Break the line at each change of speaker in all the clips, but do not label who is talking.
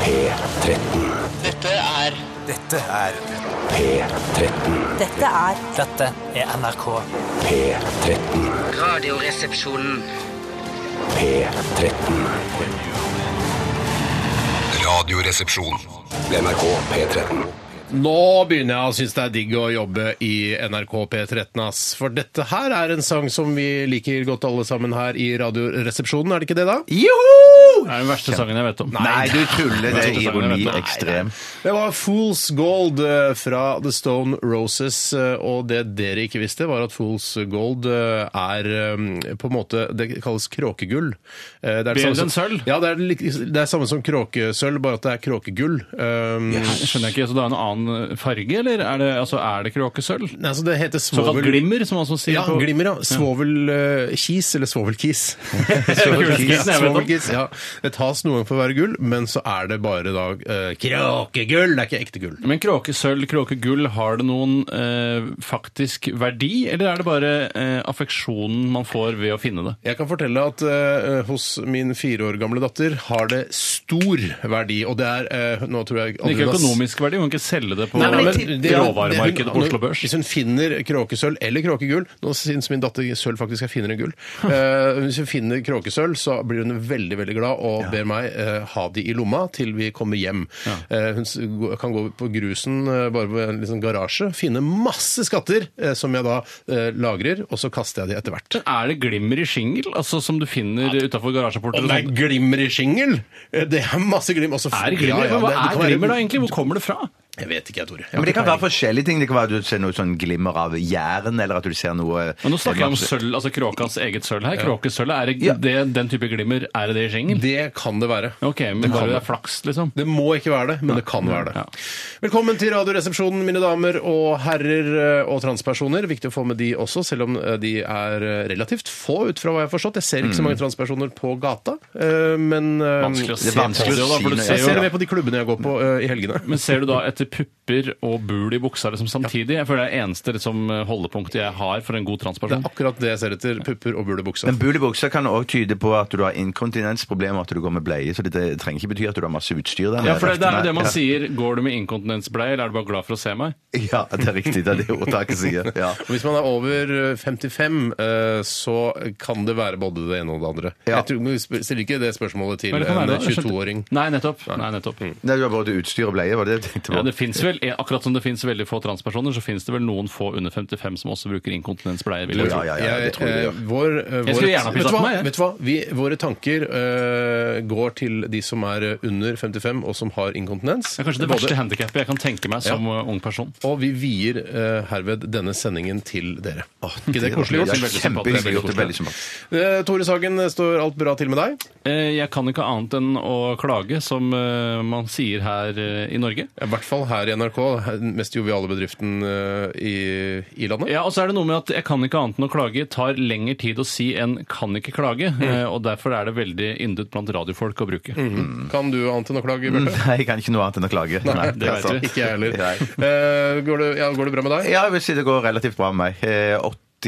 P13.
Dette er
Dette er
P13.
Dette er
Dette er NRK.
P13.
Radioresepsjonen.
P13.
Radioresepsjon.
NRK P13.
Nå begynner jeg å synes det er digg å jobbe i NRK P13, ass. For dette her er en sang som vi liker godt alle sammen her i Radioresepsjonen, er det ikke det, da?
Det er den verste sangen jeg vet om.
Nei, du tuller. Det er
Nei,
ironi
nei.
ekstrem.
Det var Fools Gold eh, fra The Stone Roses, eh, og det dere ikke visste, var at Fools Gold eh, er eh, på en måte Det kalles kråkegull. Eh, Det er
Bedre
samme
enn
som-
sølv?
Ja, det er lik- det er samme som kråkesølv, bare at det er kråkegull. Um,
Jeg skjønner jeg ikke, så det er en annen farge, eller? Er det, altså, er det kråkesølv?
Nei, altså det heter
Såkalt
svovel...
glimmer, som man også sier
Ja,
på
glimmer, ja. Svovelkis, eller svovelkis.
Svovelkis, jeg vet om.
Svovelkis, ja. Det tas noen ganger for å være gull, men så er det bare da eh, kråkegull! Det er ikke ekte gull.
Men kråkesølv, kråkegull, har det noen eh, faktisk verdi, eller er det bare eh, affeksjonen man får ved å finne det?
Jeg kan fortelle at eh, hos min fire år gamle datter har det stor verdi, og det er eh, Nå tror jeg
Men
aldri hun
Ikke
har s-
økonomisk verdi, man kan ikke selge det på
Nei, men det- det-
råvaremarkedet på
hun-
Oslo Børs.
Hvis hun finner kråkesølv eller kråkegull Nå syns min datter sølv faktisk er finere enn gull. Eh, hvis hun finner kråkesølv, så blir hun veldig veldig glad og ber meg eh, ha de i lomma til vi kommer hjem. Eh, hun s- gå- kan gå på grusen eh, bare på en liksom garasje, finne masse skatter eh, som jeg da eh, lagrer, og så kaster jeg de etter hvert.
Er det glimmer i skingel, altså som du finner utafor garasjeporten?
Om det er
og sånt?
glimmer i skingel? eh, Det er masse glim. Også
Er det glimmer? Men
det-
hva
det kan
er
være-
glimmer da egentlig? Hvor kommer det fra?
Jeg vet ikke, jeg, Tore. Jeg
Men
har
Det kan
ikke
være forskjellige ting. Det kan være at du ser noe sånn glimmer av jern, eller at du ser noe
Men nå snakker jeg om sølv, altså kråkas eget sølv her. Kråkesølv, er det, det den type glimmer? Er det det i
peiling.
skingel?
det kan det være.
Ok, men bare det er flaks, liksom.
Det må ikke være det, men det kan være det.
Ja.
Velkommen til Radioresepsjonen, mine damer og herrer eh, og transpersoner. Viktig å få med de også, selv om eh, de er eh, relativt få ut fra hva jeg har forstått. Jeg ser ikke så mange transpersoner på gata, eh, men eh,
Mm. Vanskelig å
Det
se
er
på
vanskelig å
det, da,
si
for du
når
ser
Jeg
jo
ser det mer på de klubbene jeg går på eh, i helgene.
Men ser du da etter pupper og bul i buksa liksom samtidig? Jeg føler det er eneste liksom, holdepunktet jeg har for en god
Det
transperson.
er akkurat det jeg ser etter. Pupper og bulebuksa.
Men bul i buksa kan òg tyde på at du har inkontinensproblemer, at du går med bleie. Så det trenger ikke bety at du har masse utstyr der.
Ja, for det, det er jo det man
Ja.
sier. Går du med inkontinensbleie, eller er du bare glad for å se meg?
Ja, det er riktig. Det er det ordtaket sier. Ja.
Og Hvis man er over eh, 55, eh, så kan det være både det ene og det andre.
Ja.
Jeg tror, men vi sp- stiller ikke det spørsmålet til
Men det kan
en
være det, jeg skjønte.
22-åring.
Nei, nettopp. Nei, nettopp.
Nei, du har både utstyr og bleie, var det det jeg tenkte
Ja,
på?
det finnes vel, eh, Akkurat som det finnes veldig få transpersoner, så finnes det vel noen få under 55 som også bruker inkontinensbleie. vil jeg
Ja,
tro.
ja, ja, det tror jeg det
eh,
gjør.
vår, eh,
Jeg skulle
våre-
gjerne ha
vet,
pisset på
du hva?
meg, jeg.
vet du hva? Vi, våre tanker eh, går til de som er eh, under 55 og som har inkontinens.
Det er kanskje det verste handikappet jeg kan tenke meg som uh, ung person.
Og vi vier eh, herved denne sendingen til dere. ikke det
er
koselig
Ja,
gjort?
veldig sympatisk.
Kjempehyggelig gjort. det er Veldig sympatisk.
Eh, Tore Sagen, står alt bra til med deg?
Eh, Jeg kan ikke annet enn å klage, som eh, man sier her eh, i Norge.
I hvert fall her i NRK, den mest joviale bedriften eh, i, i landet.
Ja, og så er det noe med at jeg kan ikke annet enn å klage tar lengre tid å si enn kan ikke klage,
Mm.
eh, og derfor er det veldig yndet blant radiofolk å bruke.
Mm.
Kan du annet enn å klage, Bjarte?
Nei, jeg kan ikke noe annet enn å klage. Nei,
det vet
altså.
vi.
Ikke jeg heller.
Nei.
Eh, går, det, ja, går det bra med deg?
Ja, jeg vil si det går relativt bra med meg. Eh,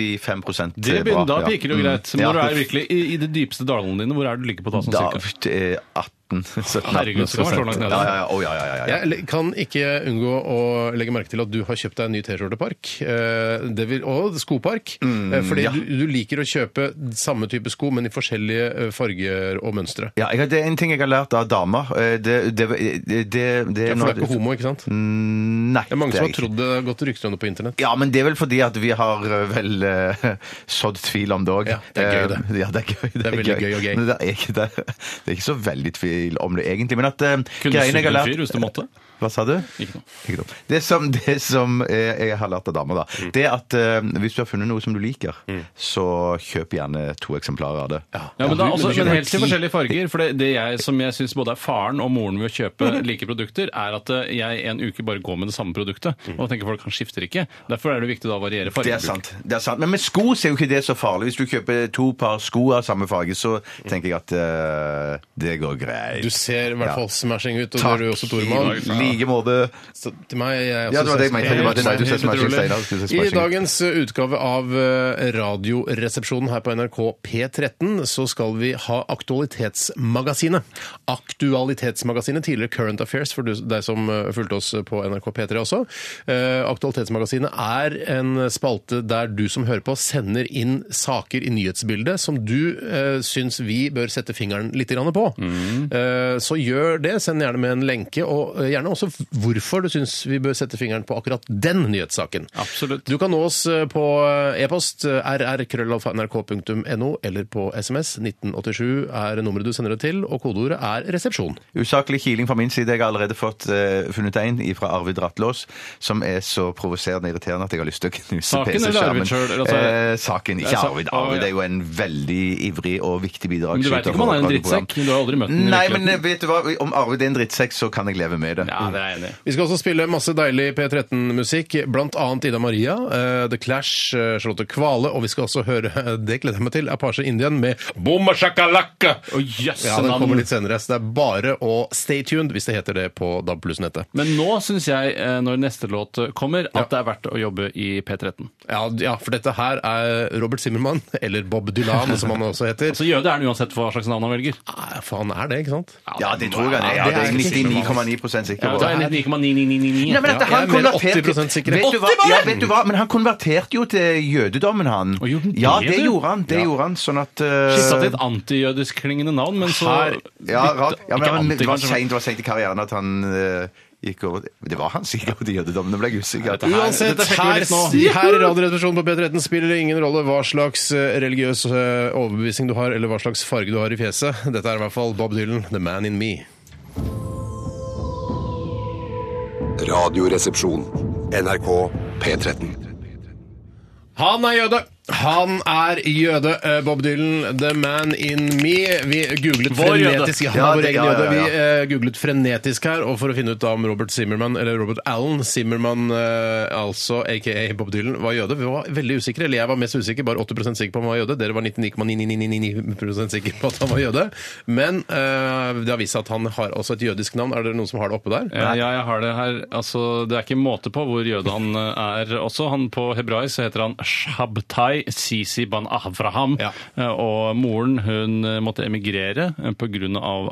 85
Det
bra.
begynner, da
ja.
piker det jo greit.
Mm.
Når du
Ja.
er virkelig i, i de dypeste dalene dine, hvor er det du ligger på da sånn
Da,
cirka?
eh, 18 17,
Herregud, så kan man slå langt ned,
Ja,
da.
ja, ja. Å, ja, ja, ja, ja.
Jeg le- kan ikke unngå å legge merke til at du har kjøpt deg en ny T-skjortepark eh, det vil- og skopark. eh,
Mm,
fordi
ja.
du, du liker å kjøpe samme type sko, men i forskjellige eh, farger og mønstre.
Ja, jeg, har- det er en ting jeg har lært av damer. Eh, Det, det, det, det, det
Ja, for du er ikke homo, ikke sant? Det
Nei.
er mange
det
som
jeg
har trodd det har gått rykter om det på internett.
Ja, men det er vel fordi at vi har eh, vel eh, sådd tvil om det òg.
Ja, det er gøy, det.
Ja, det er gøy. Det
veldig gøy og gøy.
Men det, er ikke, det, det er ikke så veldig tvil om det, egentlig. Men at eh,
Kunne du
greiene jeg
sugd
har
en
lært
fyr hvis du måtte?
Hva sa du?
Ikke noe.
Ikke noe. Det som, det som eh, jeg har lært av damer, da, det er at eh, hvis du har funnet noe som du liker, så kjøp gjerne to eksemplarer av det.
Ja, men, da,
du-
også, men
men du kjøper
helst i forskjellige farger. For det, det jeg, som jeg syns både er faren og moren ved å kjøpe like produkter, er at eh, jeg en uke bare går med det samme produktet. Og da tenker folk han skifter ikke. Derfor er det viktig da å variere
Det er
fargebruk.
sant. det er sant. Men med sko så er jo ikke det så farlig. Hvis du kjøper to par sko av samme farge, så tenker jeg at eh, det går greit. Nei.
Du ser i hvert
Ja.
fall smashing ut, og det
Takk.
gjør du også,
I
Tormann.
like måte.
Så til meg jeg også sånn
Ja, det var det jeg mente. Det var det
Helt-
du sa,
helt
smashing,
utrolig.
Steinar. Du sa smashing.
I dagens eh, utgave av eh, Radioresepsjonen her på NRK P13 så skal vi ha Aktualitetsmagasinet. Aktualitetsmagasinet, tidligere Current Affairs for du- deg som eh, fulgte oss på NRK P3 også. Eh, Aktualitetsmagasinet er en spalte der du som hører på sender inn saker i nyhetsbildet som du eh, syns vi bør sette fingeren litt grann på. Eh, så gjør det. Send gjerne med en lenke, og eh, gjerne også hvorfor du syns vi bør sette fingeren på akkurat den nyhetssaken.
Absolutt.
Du kan nå oss eh, på e-post eh, rrkrøllalfa.nrk.no eller på SMS 1987 er nummeret du sender det til, og kodeordet er resepsjon.
Usaklig kiling fra min side. Jeg har allerede fått eh, funnet en fra Arvid Rattlås som er så provoserende og irriterende at jeg har lyst til å knuse
Saken eller Arvid
PC-skjermen.
selv? Altså-
eh, saken,
Ja,
ikke
sa-
Arvid.
Å, ja.
Arvid er jo en veldig ivrig og viktig bidragsyter.
Men du vet ikke om han er en
for radioprogram.
drittsekk? Du har aldri møtt ham i
Nei,
virkeligheten.
men eh, vet du hva? Om Arvid er en drittsekk, så kan jeg leve med det.
Ja, det er jeg enig i.
Vi skal også spille masse deilig P13-musikk, blant annet Ida Maria, eh, The Clash, eh, Charlotte Kvale, og vi skal også høre, eh, det gleder jeg meg til, Apache Indian med Bomma Shakalaka!
Å, jøsse
Ja, den
navn.
kommer litt senere, så det er bare å stay tuned hvis det heter det på DAB nettet
Men nå syns jeg, eh, når neste låt kommer, at det er verdt å jobbe i P13.
Ja, ja, for dette her er Robert Zimmermann, eller Bob Dylan, som han også heter.
Så jøde er han uansett hva slags navn han velger.
Nei, faen er det, ikke sant?
Mm. Ja, det tror jeg han er. Ja,
det
det
er jeg ikke
er
sikker på.
99,9 sikker
Ja,
på.
da er jeg 99,9999.
Nei, men at
Ja,
han
jeg er mer
konverterte-
80% sikker.
Vet du hva?
80 bare?
Ja, vet du hva? Men han konverterte jo til jødedommen, han.
Å, gjorde han det,
Ja, det
du?
gjorde han. Det
Ja.
gjorde han, sånn at
Skissa
eh,
til et antijødisk klingende navn, men så
Her-
Ja, rart. Ja, men
Ikke
han,
anti,
det var
kanskje, men-
seint i karrieren at han eh, gikk over Det var han sikkert til jødedommen, det ble jeg usikker på.
Nei,
Uansett,
dette fikk vi
her,
litt nå.
her i Radioresepsjonen på P13 spiller det ingen rolle hva slags eh, religiøs eh, overbevisning du har, eller hva slags farge du har i fjeset. Dette er i hvert fall Bob Dylan, The Man In Me.
Radioresepsjon. NRK P13.
Han er jøde! Han er jøde, eh, Bob Dylan, The Man In Me. Vi googlet
Vår jøde.
frenetisk ja,
Ja,
vår
det-
egen
ja, ja,
jøde.
ja.
Vi eh, googlet frenetisk her, og for å finne ut da om Robert Zimmerman, eller Robert Allen Zimmerman, eh, altså aka Bob Dylan, var jøde. Vi var veldig usikre, eller jeg var mest usikker, bare 80 sikker på om han var jøde. Dere var 99,999 sikre på at han var jøde. Men eh, det har vist seg at han har også et jødisk navn. Er det noen som har det oppe der?
Ja, ja, jeg har det her. Altså, det er ikke måte på hvor jøde han eh, er også. Han På hebraisk så heter han Shabtai Sisi ban Avraham.
Ja.
Eh, Og moren hun eh, måtte emigrere eh, pga.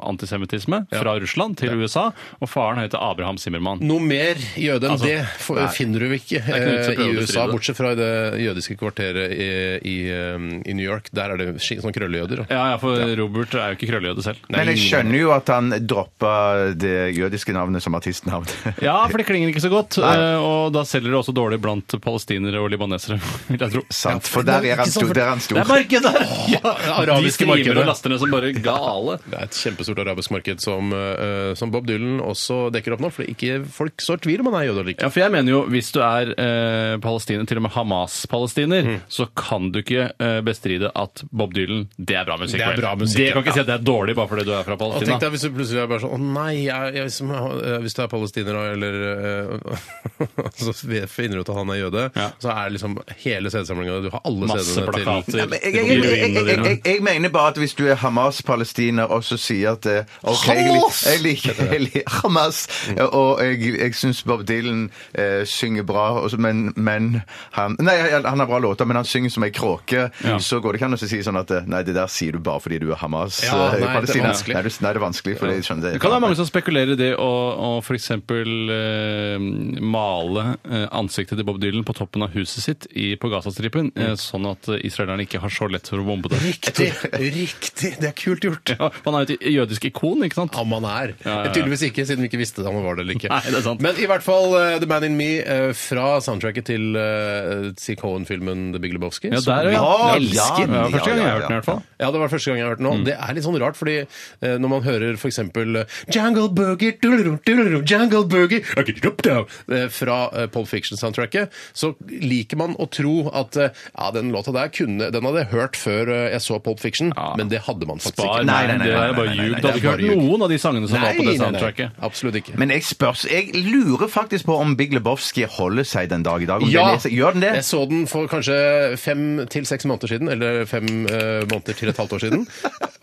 antisemittisme fra Russland til USA. Og faren heter Abraham Zimmermann.
Noe mer jøde enn
Altså,
det får- finner du ikke,
er ikke noe vits i å
eh,
prøve å
i USA,
bestride det.
bortsett fra det jødiske kvarteret i, i, eh, i New York. Der er det ski- sånn krøllejøder. da.
Ja, ja, for Robert er jo ikke krøllejøde selv.
Men jeg skjønner jo at han droppa det jødiske navnet som artistnavn.
Ja, for det klinger ikke så godt.
Nei.
eh, Og da selger det også dårlig blant palestinere og libanesere, vil jeg tro.
Sant, for der er han stor. Der er han stor.
Det er markedet! Ja, de
arabiske
streamer
markedet.
og laster ned som bare gale.
Det er et kjempestort arabisk marked som, eh, som Bob Dylan også dekker opp nå, for ikke folk sår tvil om han er jøde eller
Ja,
ikke.
for jeg mener jo, hvis du er eh, palestiner, til og med Hamas-palestiner,
Mm.
så kan du ikke eh, bestride at Bob Dylan, det er bra musikk.
Det er
vel?
bra musikk,
Det kan
ja.
ikke si at det er dårlig bare fordi du er fra
Og
Palestina.
tenk deg hvis du plutselig er bare sånn Å nei, jeg, jeg, som, eh, hvis du er palestiner eller eh, Så finner du ut at han er jøde.
Ja.
Så er liksom hele CD-samlinga Du har alle
Masse
CD-ene til
plakater.
Nei, men jeg, jeg, jeg, jeg, jeg, jeg, jeg mener bare at hvis du er Hamas-palestiner og så sier at eh, ok, jeg, lik- jeg liker jeg liker Hamas,
Mm.
eh, og jeg, jeg syns Bob Dylan eh, synger bra, og så- men, men han Nei, han har bra låter, men han synger som ei kråke.
Ja.
Så går det ikke an å si sånn at eh, nei, det der sier du bare fordi du er
Ja, nei, det er
Hamas-palestiner.
vanskelig.
nei, du- nei, det er vanskelig, for jeg skjønner det.
Det kan være mange som spekulerer i det å, å f.eks. Eh, male eh, ansiktet til Bob Dylan på toppen av huset sitt i, på Gazastripen, eh, sånn at eh, israelerne ikke har så lett for å bombe det.
Riktig! Riktig! Det er kult gjort.
Ja, han er jo et jødisk ikon, ikke sant?
Om han er. Eh,
ja, ja.
Tydeligvis ikke, siden vi ikke visste om han var det eller ikke.
Nei, det er sant.
Men i hvert fall eh, The Man In Me eh, fra soundtracket til uh, Cohen-filmen The Big Lebowski.
Ja,
som
der, ja.
Ja,
Jeg elsker den.
ja,
Ja, første gang jeg har
ja,
hørt den, i hvert fall.
Ja, det var første gang jeg har hørt den
Mm.
nå. Det er litt sånn rart, fordi eh, når man hører for eksempel eh, Jungle Burger, duluru, duluru, Jungle Burger I get it up down, eh, fra eh, Pulp Fiction-soundtracket, så liker man å tro at eh, ja, Ja, den låta der kunne, den hadde jeg hørt før eh, jeg så Pulp Fiction, men det hadde man faktisk
Spar
ikke.
Nei, nei,
meg,
nei,
det
nei,
er
nei,
bare
nei, nei,
ljug.
nei,
Du hadde
det er
ikke
bare
hørt
ljug.
noen av de sangene som var på det
nei, nei.
soundtracket.
Absolutt ikke.
Men jeg, spørs, jeg lurer faktisk på om Big Lebowski holder seg den dag i dag. Om
Ja.
den leser, gjør den det?
Jeg så den for kanskje fem til seks måneder siden, eller fem eh, måneder til et halvt år siden.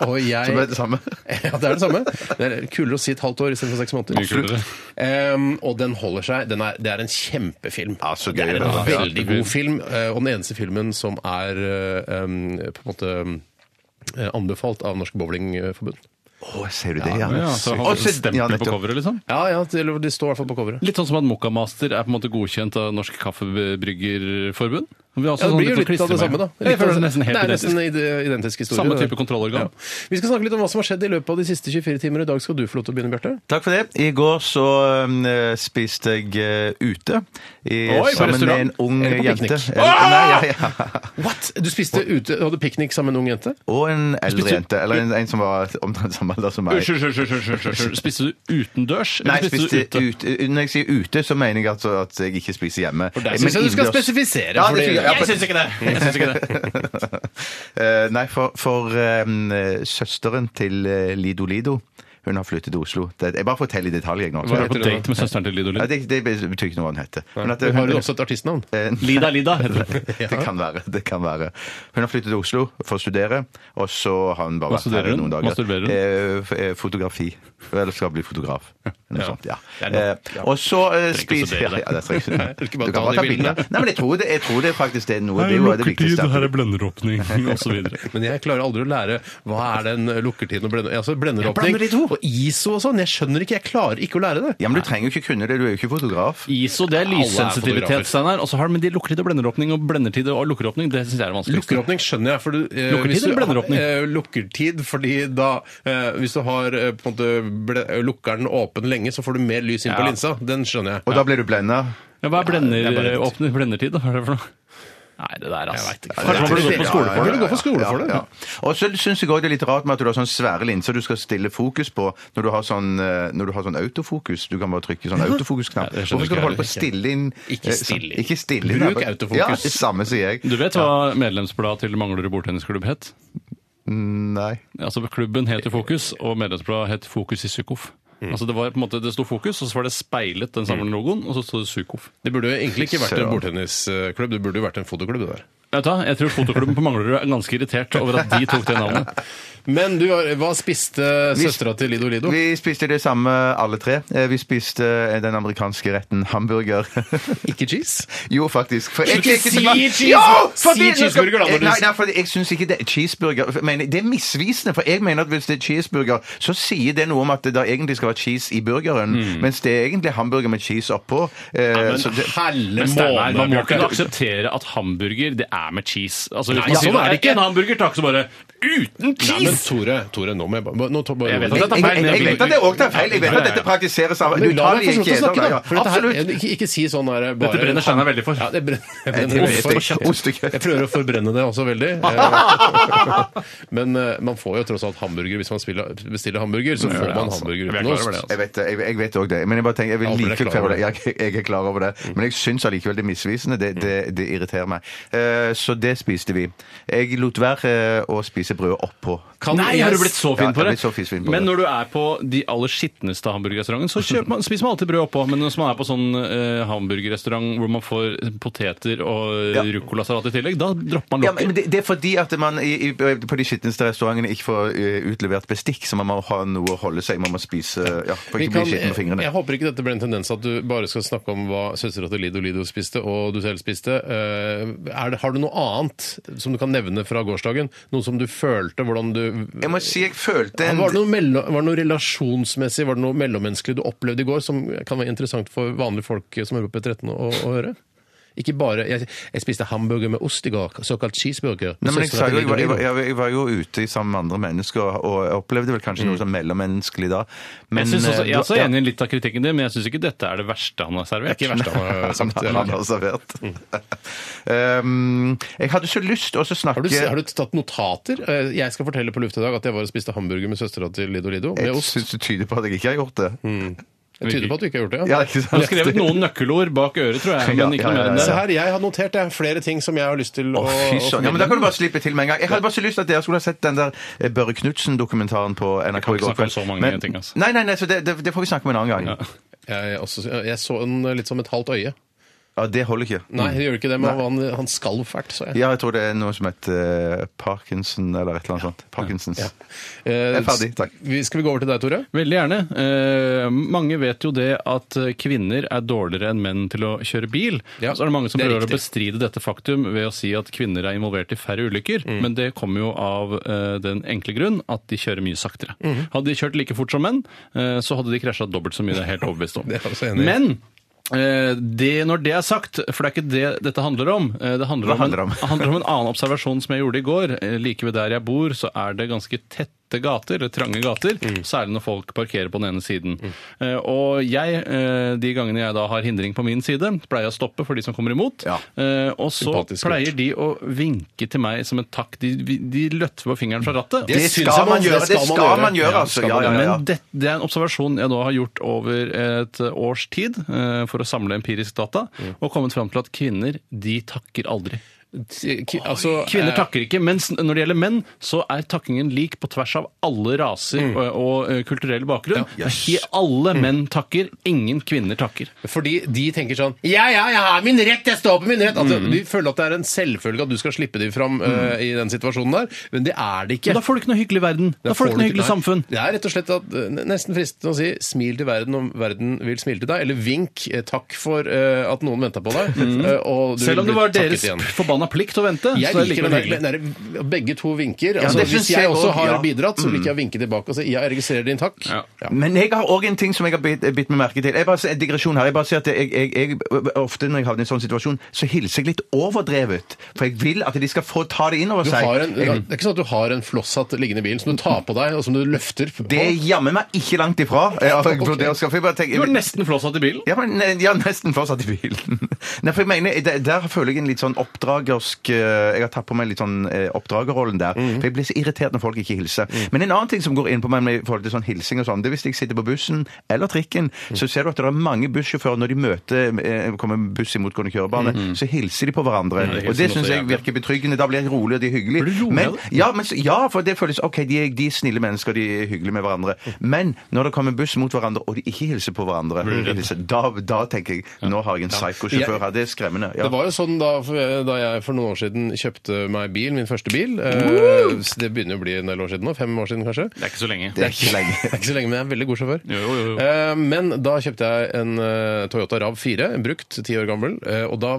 Og jeg...
Som er det samme.
Ja, det er det samme. Det er kulere å si et halvt år istedenfor seks måneder.
Mye kulere.
Ehm, og den holder seg. Den er, det er en kjempefilm.
Ja, så
det
gøy,
er en
da.
veldig god film, eh, og den eneste filmen som er eh, em, på en måte eh, anbefalt av Norsk Bowlingforbund.
Å, ser du det, ja.
Ja, så har
Og
du
så- ja,
stempel på
nettopp.
coveret, liksom.
Ja, ja, det, eller det står i hvert fall på coveret.
Litt sånn som at Mokkamaster er på en måte godkjent av Norsk Kaffebryggerforbund? Vi har også
Ja, det
sånn
blir jo
litt
litt av det
klistremerke.
samme, da.
Jeg føler det er nesten helt
det er
identisk.
nesten ide- identisk historie.
Samme type
det.
kontrollorgan.
Vi skal snakke litt om hva som har skjedd i løpet av de siste 24 timer. I dag skal du få lov til å begynne, Bjarte.
Takk for det. I går så um, eh, spiste jeg eh, ute i,
Oi, på
sammen med en
restaurant.
ung
Eller på
jente.
piknik.
Eller, nei, ja, ja.
What? Du spiste ute, hadde piknik sammen med en ung jente?
Og en eldre
Spiste-
jente. Eller en, en som var omtrent samme alder som meg.
Unnskyld, unnskyld, unnskyld, unnskyld, unnskyld. Spiste du utendørs?
Nei,
eller spiste
spiste
du ute?
ute. Når jeg sier ute, så mener jeg altså at jeg ikke spiser hjemme.
Der syns jeg du skal spesifisere.
Ja, det
fordi-
synes jeg- ja, for-
ikke det! Jeg syns ikke det.
Eh, nei, for, for em, eh, søsteren til eh, Lido Lido Hun har flyttet til Oslo. Det, jeg bare forteller i detalj, jeg nå.
Var du
heter
på
det da?
date med søsteren til Lido
Nei,
Lind?
det, det betyr ikke noe hva hun heter. Men at
Men Har
hun-
du også et artistnavn?
eh,
Lida Lida heter det.
det kan være. det kan være. Hun har flyttet til Oslo for å studere, og så har hun bare
Hva
vært her
studerer
i
hun?
noen
Hva
dager.
studerer hun?
Eh, f- eh, fotografi. Eller skal bli fotograf. Noe
Ja.
sånt, ja.
Det er
Eh,
nok, ja.
og så eh,
Trenger ikke å
spiser
studere det.
Ja, det trenger ikke.
Du kan bare
Du kan
ta
bare
de
ta
bildene.
bildene. Nei, men jeg tror det, jeg tror det faktisk det er noe. Det er jo det viktigste.
er blenderåpning, osv.
Men jeg klarer aldri å lære hva er den lukkertiden og blender, altså blenderåpning.
Jeg blander de to.
Og ISO og sånn. Jeg skjønner ikke. Jeg klarer ikke å lære det.
Ja, men du trenger jo ikke kunne det. Du er jo ikke fotograf.
ISO det er
Alle er fotografer.
lyssensitivitet, Steinar. Og så har du med de lukkertid og blenderåpning og blendertid og lukkeråpning. Det syns jeg er det vanskeligste.
Lukkeråpning skjønner jeg. For du, eh,
Lukkertid
hvis du-
eller blenderåpning?
Eh, lukkertid, fordi da eh, Hvis du har eh, på en måte ble, lukkeren åpen lenge, så får du mer lys inn på
Ja.
linsa. Den skjønner jeg.
Og da blir du blenda.
Ja, hva er
det er bare litt.
blenderåpner? Blendertid, da? Hva er det for noe? Nei, det der, altså. Kanskje man burde gått på
Ja,
skole for
ja,
det?
ja. gå på skole for det.
Og så syns jeg òg det er litt rart med at du har sånne svære linser du skal stille fokus på når du har sånn, eh, når du har sånn autofokus. Du kan bare trykke sånn autofokusknapp.
Nei, det
Hvorfor skal
skjønner
du
ikke
holde på å
jeg
stille inn
Ikke
eh,
stille inn.
Ikke stille inn. ja,
Bruk
for-
autofokus.
Ja, det samme sier jeg.
Du vet hva medlemsbladet til Manglerud bordtennisklubb het?
Nei.
Altså, Klubben het jo Fokus, og medlemsbladet het Fokus i Psykof.
Mm.
Altså, Det var på en måte, det sto Fokus, og så var det speilet den samme logoen, og så sto det Psykof.
Det burde jo egentlig ikke vært en
Søren.
bordtennisklubb, det burde jo vært en fotoklubb. det der.
Vet du, hva? Jeg tror fotoklubben på Manglerud er ganske irritert over at de tok det navnet.
Men du, hva spiste
Vi-
søstera til Lido Lido?
Vi spiste det samme alle tre. Eh, Vi spiste eh, den amerikanske retten hamburger.
Ikke cheese?
Jo, faktisk. For jeg,
Ikke
jeg- jeg-
si cheese-
Jo,
si
fordi-
cheeseburger, da, når du-
Nei, nei, for jeg syns ikke det er cheeseburger. For- Men det er misvisende, for jeg mener at hvis det er cheeseburger, så sier det noe om at det da egentlig skal være cheese i burgeren,
Mm.
mens det er egentlig hamburger med cheese oppå. Eh, så det-
helle
Men Steinar, man må
Bjarte.
kunne akseptere at hamburger, det er med cheese. Altså, hvis
Nei,
man
sånn
sier,
er det ikke.
En hamburger, takk, så bare uten cheese!
Nei, men Tore, Tore, nå må jeg bare nå tar bare-
Jeg vet at
jeg,
dette er
jeg,
feil,
jeg,
men
jeg
jeg-
vet at det òg tar feil. Jeg vet at dette praktiseres av
Men la meg
utallige
få lov til å
kjeder.
snakke,
ja,
da. For dette her,
Absolutt.
ikke, ikke si sånn der bare,
Dette brenner Steinar veldig for.
Ja, det brenner, jeg
Jeg
brenner
vet
for.
ikke. Ostekjøtt.
Jeg prøver å forbrenne det også veldig. Eh, Men eh, man får jo tross alt hamburger hvis man spiller, bestiller hamburger. Så får
det,
man
altså.
hamburger
Vi er
uten
klar over det,
ost.
altså.
Jeg vet, det, jeg, jeg vet også det, men jeg bare tenker, jeg
Jeg
vil
håper
like
dere er klar
klar over det. Jeg, jeg er klar over det, men jeg syns allikevel det er misvisende. Det, det, det irriterer meg. Eh, så det spiste vi. Jeg lot være eh, å spise brødet oppå.
Kan-
Nei,
jeg-
har du blitt så
Ja, jeg
fin på
har
det?
blitt så fisefin på
men
det.
når du er på de aller skitneste hamburgerrestaurantene, så kjøper man, spiser man alltid brød oppå. Men hvis man er på sånn eh, hamburgerrestaurant hvor man får poteter og eh,
Ja.
ruccolasalat i tillegg, da dropper man
Ja, men
lokket.
det, det er fordi at man i, i, på de skitneste restaurantene ikke får eh, utlevert bestikk, så man må ha noe å holde seg Man må spise eh, ja, for
Vi
ikke å
kan,
bli skitten på
jeg,
fingrene.
jeg håper ikke dette ble en tendens at du bare skal snakke om hva søstera til Lido Lido spiste, og du selv spiste. Eh, Er det, har du noe annet som du kan nevne fra gårsdagen? Noe som du følte? Hvordan du
Jeg må si jeg følte
Ja,
en
Var det, noe mellom, var det noe relasjonsmessig, var det noe mellommenneskelig du opplevde i går som kan være interessant for vanlige folk som hører på P13 å, å høre? Ikke bare jeg, jeg spiste hamburger med ost i går, såkalt cheeseburger.
Nei, men jeg, sa
Søstera
jo,
til
jeg, var, jeg,
Lido
var,
Lido.
jeg, var, jeg var jo ute sammen med andre mennesker og, og jeg opplevde vel kanskje noe sånn mellommenneskelig da. Men,
Jeg, synes også,
eh,
jeg er også
ja,
enig i litt av kritikken din, men jeg syns ikke dette er det verste han har servert.
Det er ikke verst han har sagt.
Han
eller?
har servert.
Mm.
um, jeg hadde så lyst også å snakke
Har du, har du tatt notater? Eh, Jeg skal fortelle på luft i dag at jeg var og spiste hamburger med søstera til Lido Lido med
Jeg
ost. Mm.
syns det tyder på at jeg ikke har gjort det.
Det tyder på at du ikke har gjort det.
Ja, ikke
Han har
sant?
skrevet noen nøkkelord bak øret, tror jeg. Men
Ja,
ikke
ja,
noe mer
ja,
enn
ja.
det.
Se her, jeg har notert jeg, flere ting som jeg har lyst til å,
Å, fy
å
søren. Ja, men Da kan du bare slippe til med en gang. Jeg hadde bare så lyst til at dere skulle ha sett den der eh, Børre Knutsen-dokumentaren på NRK
kan
i
ikke
går
snakke om
kveld.
så mange
Men-
ting, altså.
Nei, nei, nei, så det, det, det får vi snakke om en annen gang.
Jeg, også, jeg så en litt som et halvt øye.
Ja, Det holder ikke.
Nei, jeg gjør ikke det, men han, han skalv fælt, så jeg.
Ja, jeg tror det er noe som heter eh, Parkinson eller et eller annet sånt. Parkinsons.
Eh,
Jeg er ferdig, takk.
vi- Skal vi gå over til deg, Tore?
Veldig gjerne. Eh, mange vet jo det at kvinner er dårligere enn menn til å kjøre bil.
Ja,
så er det mange som
det er
prøver å
riktig.
bestride dette faktum ved å si at kvinner er involvert i færre ulykker,
Mm.
men det kommer jo av eh, den enkle grunn at de kjører mye saktere.
Mm.
Hadde de kjørt like fort som menn, eh, så hadde de krasja dobbelt så mye, det er jeg helt overbevist om.
Det er jeg også enig i.
men eh, det, når det er sagt, for det er ikke det dette handler om eh, Det handler
Hva
om,
handler det om?
en, det handler om en annen observasjon som jeg gjorde i går. Eh, Like ved der jeg bor, så er det ganske tette gater, eller trange gater,
Mm.
særlig når folk parkerer på den ene siden. Eh, Og jeg, eh, de gangene jeg da har hindring på min side, pleier jeg å stoppe for de som kommer imot.
Ja.
Eh, Og så
Sympatisk gjort.
pleier de å vinke til meg som en takk. De, de løtter på fingeren fra rattet.
Det
synes
skal
jeg
man gjøre, det skal man gjøre,
Ja,
altså.
skal man
Ja, ja,
gjøre.
ja.
Men det, det er en observasjon jeg da har gjort over et års tid eh, for å samle empirisk data,
Mm.
og kommet fram til at kvinner de takker aldri.
Ki- Altså,
Kvinner
eh,
takker ikke, mens når det gjelder menn, så er takkingen lik på tvers av alle raser og, og eh, kulturell bakgrunn. Ikke alle menn takker, ingen kvinner takker.
eh, Fordi de tenker sånn Ja, ja, jeg har min rett! Jeg står på min rett! Altså, De føler at det er en selvfølge at du skal slippe dem fram eh, i den situasjonen der, men det er det ikke.
Men da får du ikke noe hyggelig verden. Da, får du ikke noe hyggelig
nei.
samfunn.
Det er rett og slett at, eh, nesten fristende å si smil til verden om verden vil smile til deg, eller vink eh, takk for eh, at noen venta på deg. eh, og du
Mm. Selv om
vil
det var
bli takket
deres forbanna plikt å vente,
Jeg
så er det
liker
likevel
den,
hyggelig.
der- den der- begge to vinker. Altså,
det
hvis
synes
jeg
jeg
også
også,
har
ja.
bidratt, så liker jeg å vinke tilbake og si ja, jeg registrerer din takk.
Mm. Ja.
Ja.
Men jeg har òg en ting som jeg har bitt, bitt meg merke til. Jeg bare, en digresjon her. Jeg bare sier at jeg, jeg, jeg, Ofte når jeg havner i en sånn situasjon, så hilser jeg litt overdrevet. For jeg vil at de skal få ta det inn over
Du
seg.
har en, det
Mm.
Jeg-
er ikke sånn at du har en flosshatt liggende i bilen som du tar på deg, og som du løfter på.
Det er jammen meg ikke langt ifra. eh, Jeg har vurdert å skaffe- jeg bare tenker-
Du var nesten flåsatt i bilen.
Ja, men ne- ja, nesten fortsatt i bilen. Nei, for jeg mener, der, der føler jeg en litt sånn oppdragersk eh, Jeg har tatt på meg litt sånn eh, oppdragerrollen der.
Mhm.
For jeg blir så irritert når folk ikke hilser. Men en annen ting som går inn på meg med i forhold til sånn hilsing og sånn, det er hvis jeg sitter på bussen eller trikken,
Mhm.
så ser du at det er mange bussjåfører når de møter eh, kommer en buss i motgående kjørebane, så hilser de på hverandre.
Mhm. det hilser
og det
de også,
syns jeg
ja.
virker betryggende. Da blir jeg rolig, og de er
Blir du
hyggelige.
rolig av
Men,
det?
ja, men, så- ja, for det føles OK, de er, de er snille mennesker, de er hyggelige med hverandre. Men når det kommer buss mot hverandre, og de ikke hilser på hverandre, hilser, da, da tenker jeg nå har jeg en psyko-sjåfør her. Det er skremmende. Ja.
Det var jo sånn da, da jeg for noen år siden kjøpte meg bil, min første bil. eh, så Det begynner å bli en del år siden nå. Fem år siden, kanskje.
Det er ikke så lenge.
det er ikke lenge.
Det er ikke så lenge, men jeg er en veldig god sjåfør.
Jo, jo, jo.
Eh, Men da kjøpte jeg en eh, Toyota Rav 4, en brukt, ti år gammel. eh, Og da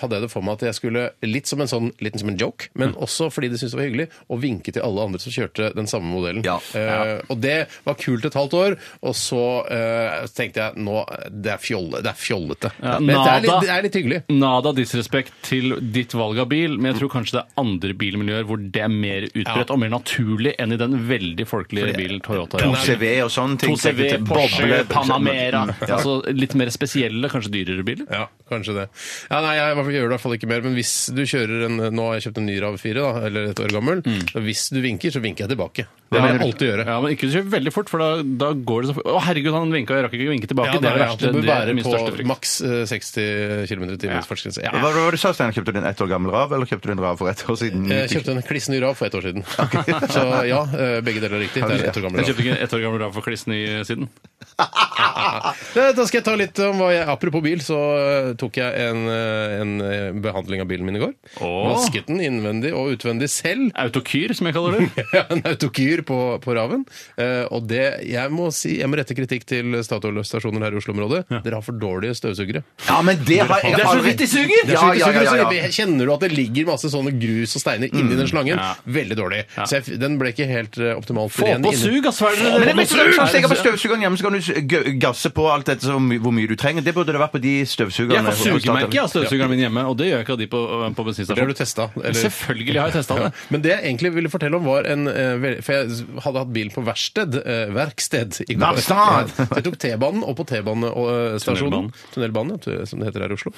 hadde jeg det for meg at jeg skulle, litt som en sånn, liten som en joke, men
Mm.
også fordi de syntes det var hyggelig, å vinke til alle andre som kjørte den samme modellen.
Ja.
Eh, Og det var kult et halvt år, og så eh, tenkte jeg nå, det er, fjolle, det er fjollete.
Ja,
men det er, litt,
nada.
det er litt hyggelig.
Nada disrespekt til ditt valg av bil, men jeg tror kanskje det er andre bilmiljøer hvor det er mer utbredt
Ja.
og mer naturlig enn i den veldig folkelige bilen Toyota.
To
er.
CV og sånne ting.
2CV,
tenker jeg,
Porsche,
boble-
Panamera.
Ja.
Altså litt mer spesielle, kanskje dyrere biler.
Ja, kanskje det. Ja, nei, jeg i hvert fall gjør det i hvert fall ikke mer, men hvis du kjører en Nå har jeg kjøpt en ny RAV 4, da, eller et år gammel. og Hvis du vinker, så vinker jeg tilbake. Det vil jeg alltid gjøre.
Mm. Ja, men ikke kjør veldig fort, for da, da går det så fort. Å, herregud, han vinka, jeg rakk ikke å vinke tilbake. det
nei,
er det
ja,
verste.
Du bør
Det er
være
min største
på
frykt.
maks eh, 60 km i timen fartsgrense.
Hva
Ja.
var det du sa, Steinar? Kjøpte du en ett år gammel rav, eller kjøpte du en rav for ett år siden?
Jeg kjøpte en kliss ny RAV for ett år siden. Så ja, eh, begge deler er riktig. Det er ett år gammel
Jeg
RAV.
kjøpte ikke en ett år gammel Rav for klissen i siden.
Eh, Da skal jeg ta litt om hva jeg Apropos bil, så eh, tok jeg en, eh, en eh, behandling av bilen min i går.
Åh.
Vasket den innvendig og utvendig selv.
Autokyr, som jeg kaller det.
Ja, en autokyr på, på Raven. Eh, og det, jeg må si, jeg må rette kritikikk til Statoil-stasjoner her i Oslo-området. Dere har for dårlige støvsugere.
Ja, men det har jeg
Det er så vidt de suger!
Det er
Ja,
så-
ja, ja, ja, ja.
så Kjenner du at det ligger masse sånne grus og steiner inni den slangen?
Mm, Ja.
Veldig dårlig.
Ja.
Så jeg, f- den ble ikke helt eh, optimalt
Få
ren
på
inni-
sug, ass! Hva er det
Men det blir
dere holder på
sånn som
med?
hvis jeg har på støvsugeren hjemme, så kan du s- gø- gasse på alt etter så my- hvor mye du trenger. Det burde det vært på de støvsugerne.
Jeg får sugemerke av støvsugeren min hjemme, og det gjør jeg ikke av de på, øh, på
Det har
bensinstasjonen.
du testa?
Selvfølgelig har jeg testa
Ja.
det.
Men det jeg egentlig ville fortelle om, var en eh, vel- For jeg hadde hatt bilen på verksted. eh, verksted i går.
Verkstad!
Ja. Så jeg tok T-banen, og på T-banestasjonen,
Tunnelbanen.
tunnelbanen, ja, som det heter her i Oslo,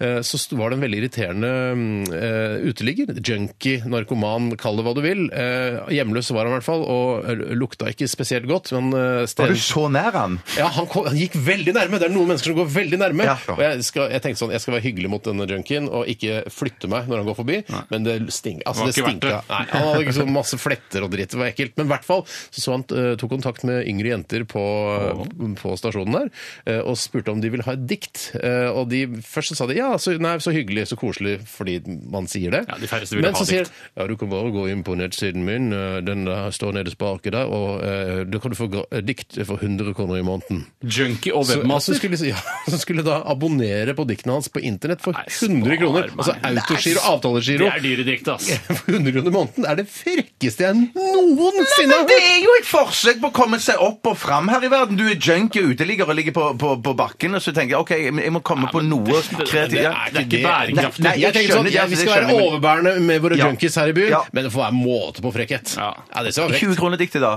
eh, så st- var det en veldig irriterende mm, eh, uteligger. Junkie, narkoman, kall det hva du vil. Eh, Hjemløs var han i hvert fall, og eh, lukta ikke spesielt godt. Men eh,
Var
sted...
du så nær han?
Ja, han, kom, han gikk veldig nærme! Det er noen mennesker som går veldig nærme.
Ja.
Og jeg, skal, jeg tenkte sånn, jeg skal være hyggelig mot denne junkien og ikke flytte meg når han går forbi, men det stink, altså,
Det
det
var ikke verdt
stinka.
det.
Nei, han hadde liksom masse fletter og dritt. Det var ekkelt. Men i hvert fall så, så han eh, tok kontakt med yngre jenter på, på stasjonen der eh, og spurte om de ville ha et dikt. Eh, og de, først så sa de ja, så, nei, så hyggelig, så koselig fordi man sier det.
Ja, de færreste ville
Men
ha
så sier de, ja, du kan bare gå inn på nettsiden min, eh, den der står nederst på arket der, og eh, da kan du få gra- dikt for 100 kroner i måneden.
Junkie og
Så, altså,
webmaster.
skulle, ja, så skulle da abonnere på diktene hans på internett for
Nei,
100 kroner.
spar meg.
Altså autogiro, avtalegiro.
Det er dyre dikt, ass.
For 100 kroner i måneden er det frekkeste jeg noensinne har
Det
hørt!
er jo et forsøk på å komme seg opp og fram her i verden. Du er junkie, uteligger og ligger på, på, på bakken, og så tenker jeg OK, jeg må komme på noe kreativt.
Det
Ja.
er ikke
Nei,
bærekraftig.
nei,
Jeg tenkte sånn,
skjønner det,
ja, Vi
altså, det
skal være
skjønner jeg, men-
overbærende med våre
Ja.
junkies her i byen,
Ja.
men det får være måte på frekkhet.
Ja.
det skal være
20
frekt.
kroner diktet, da.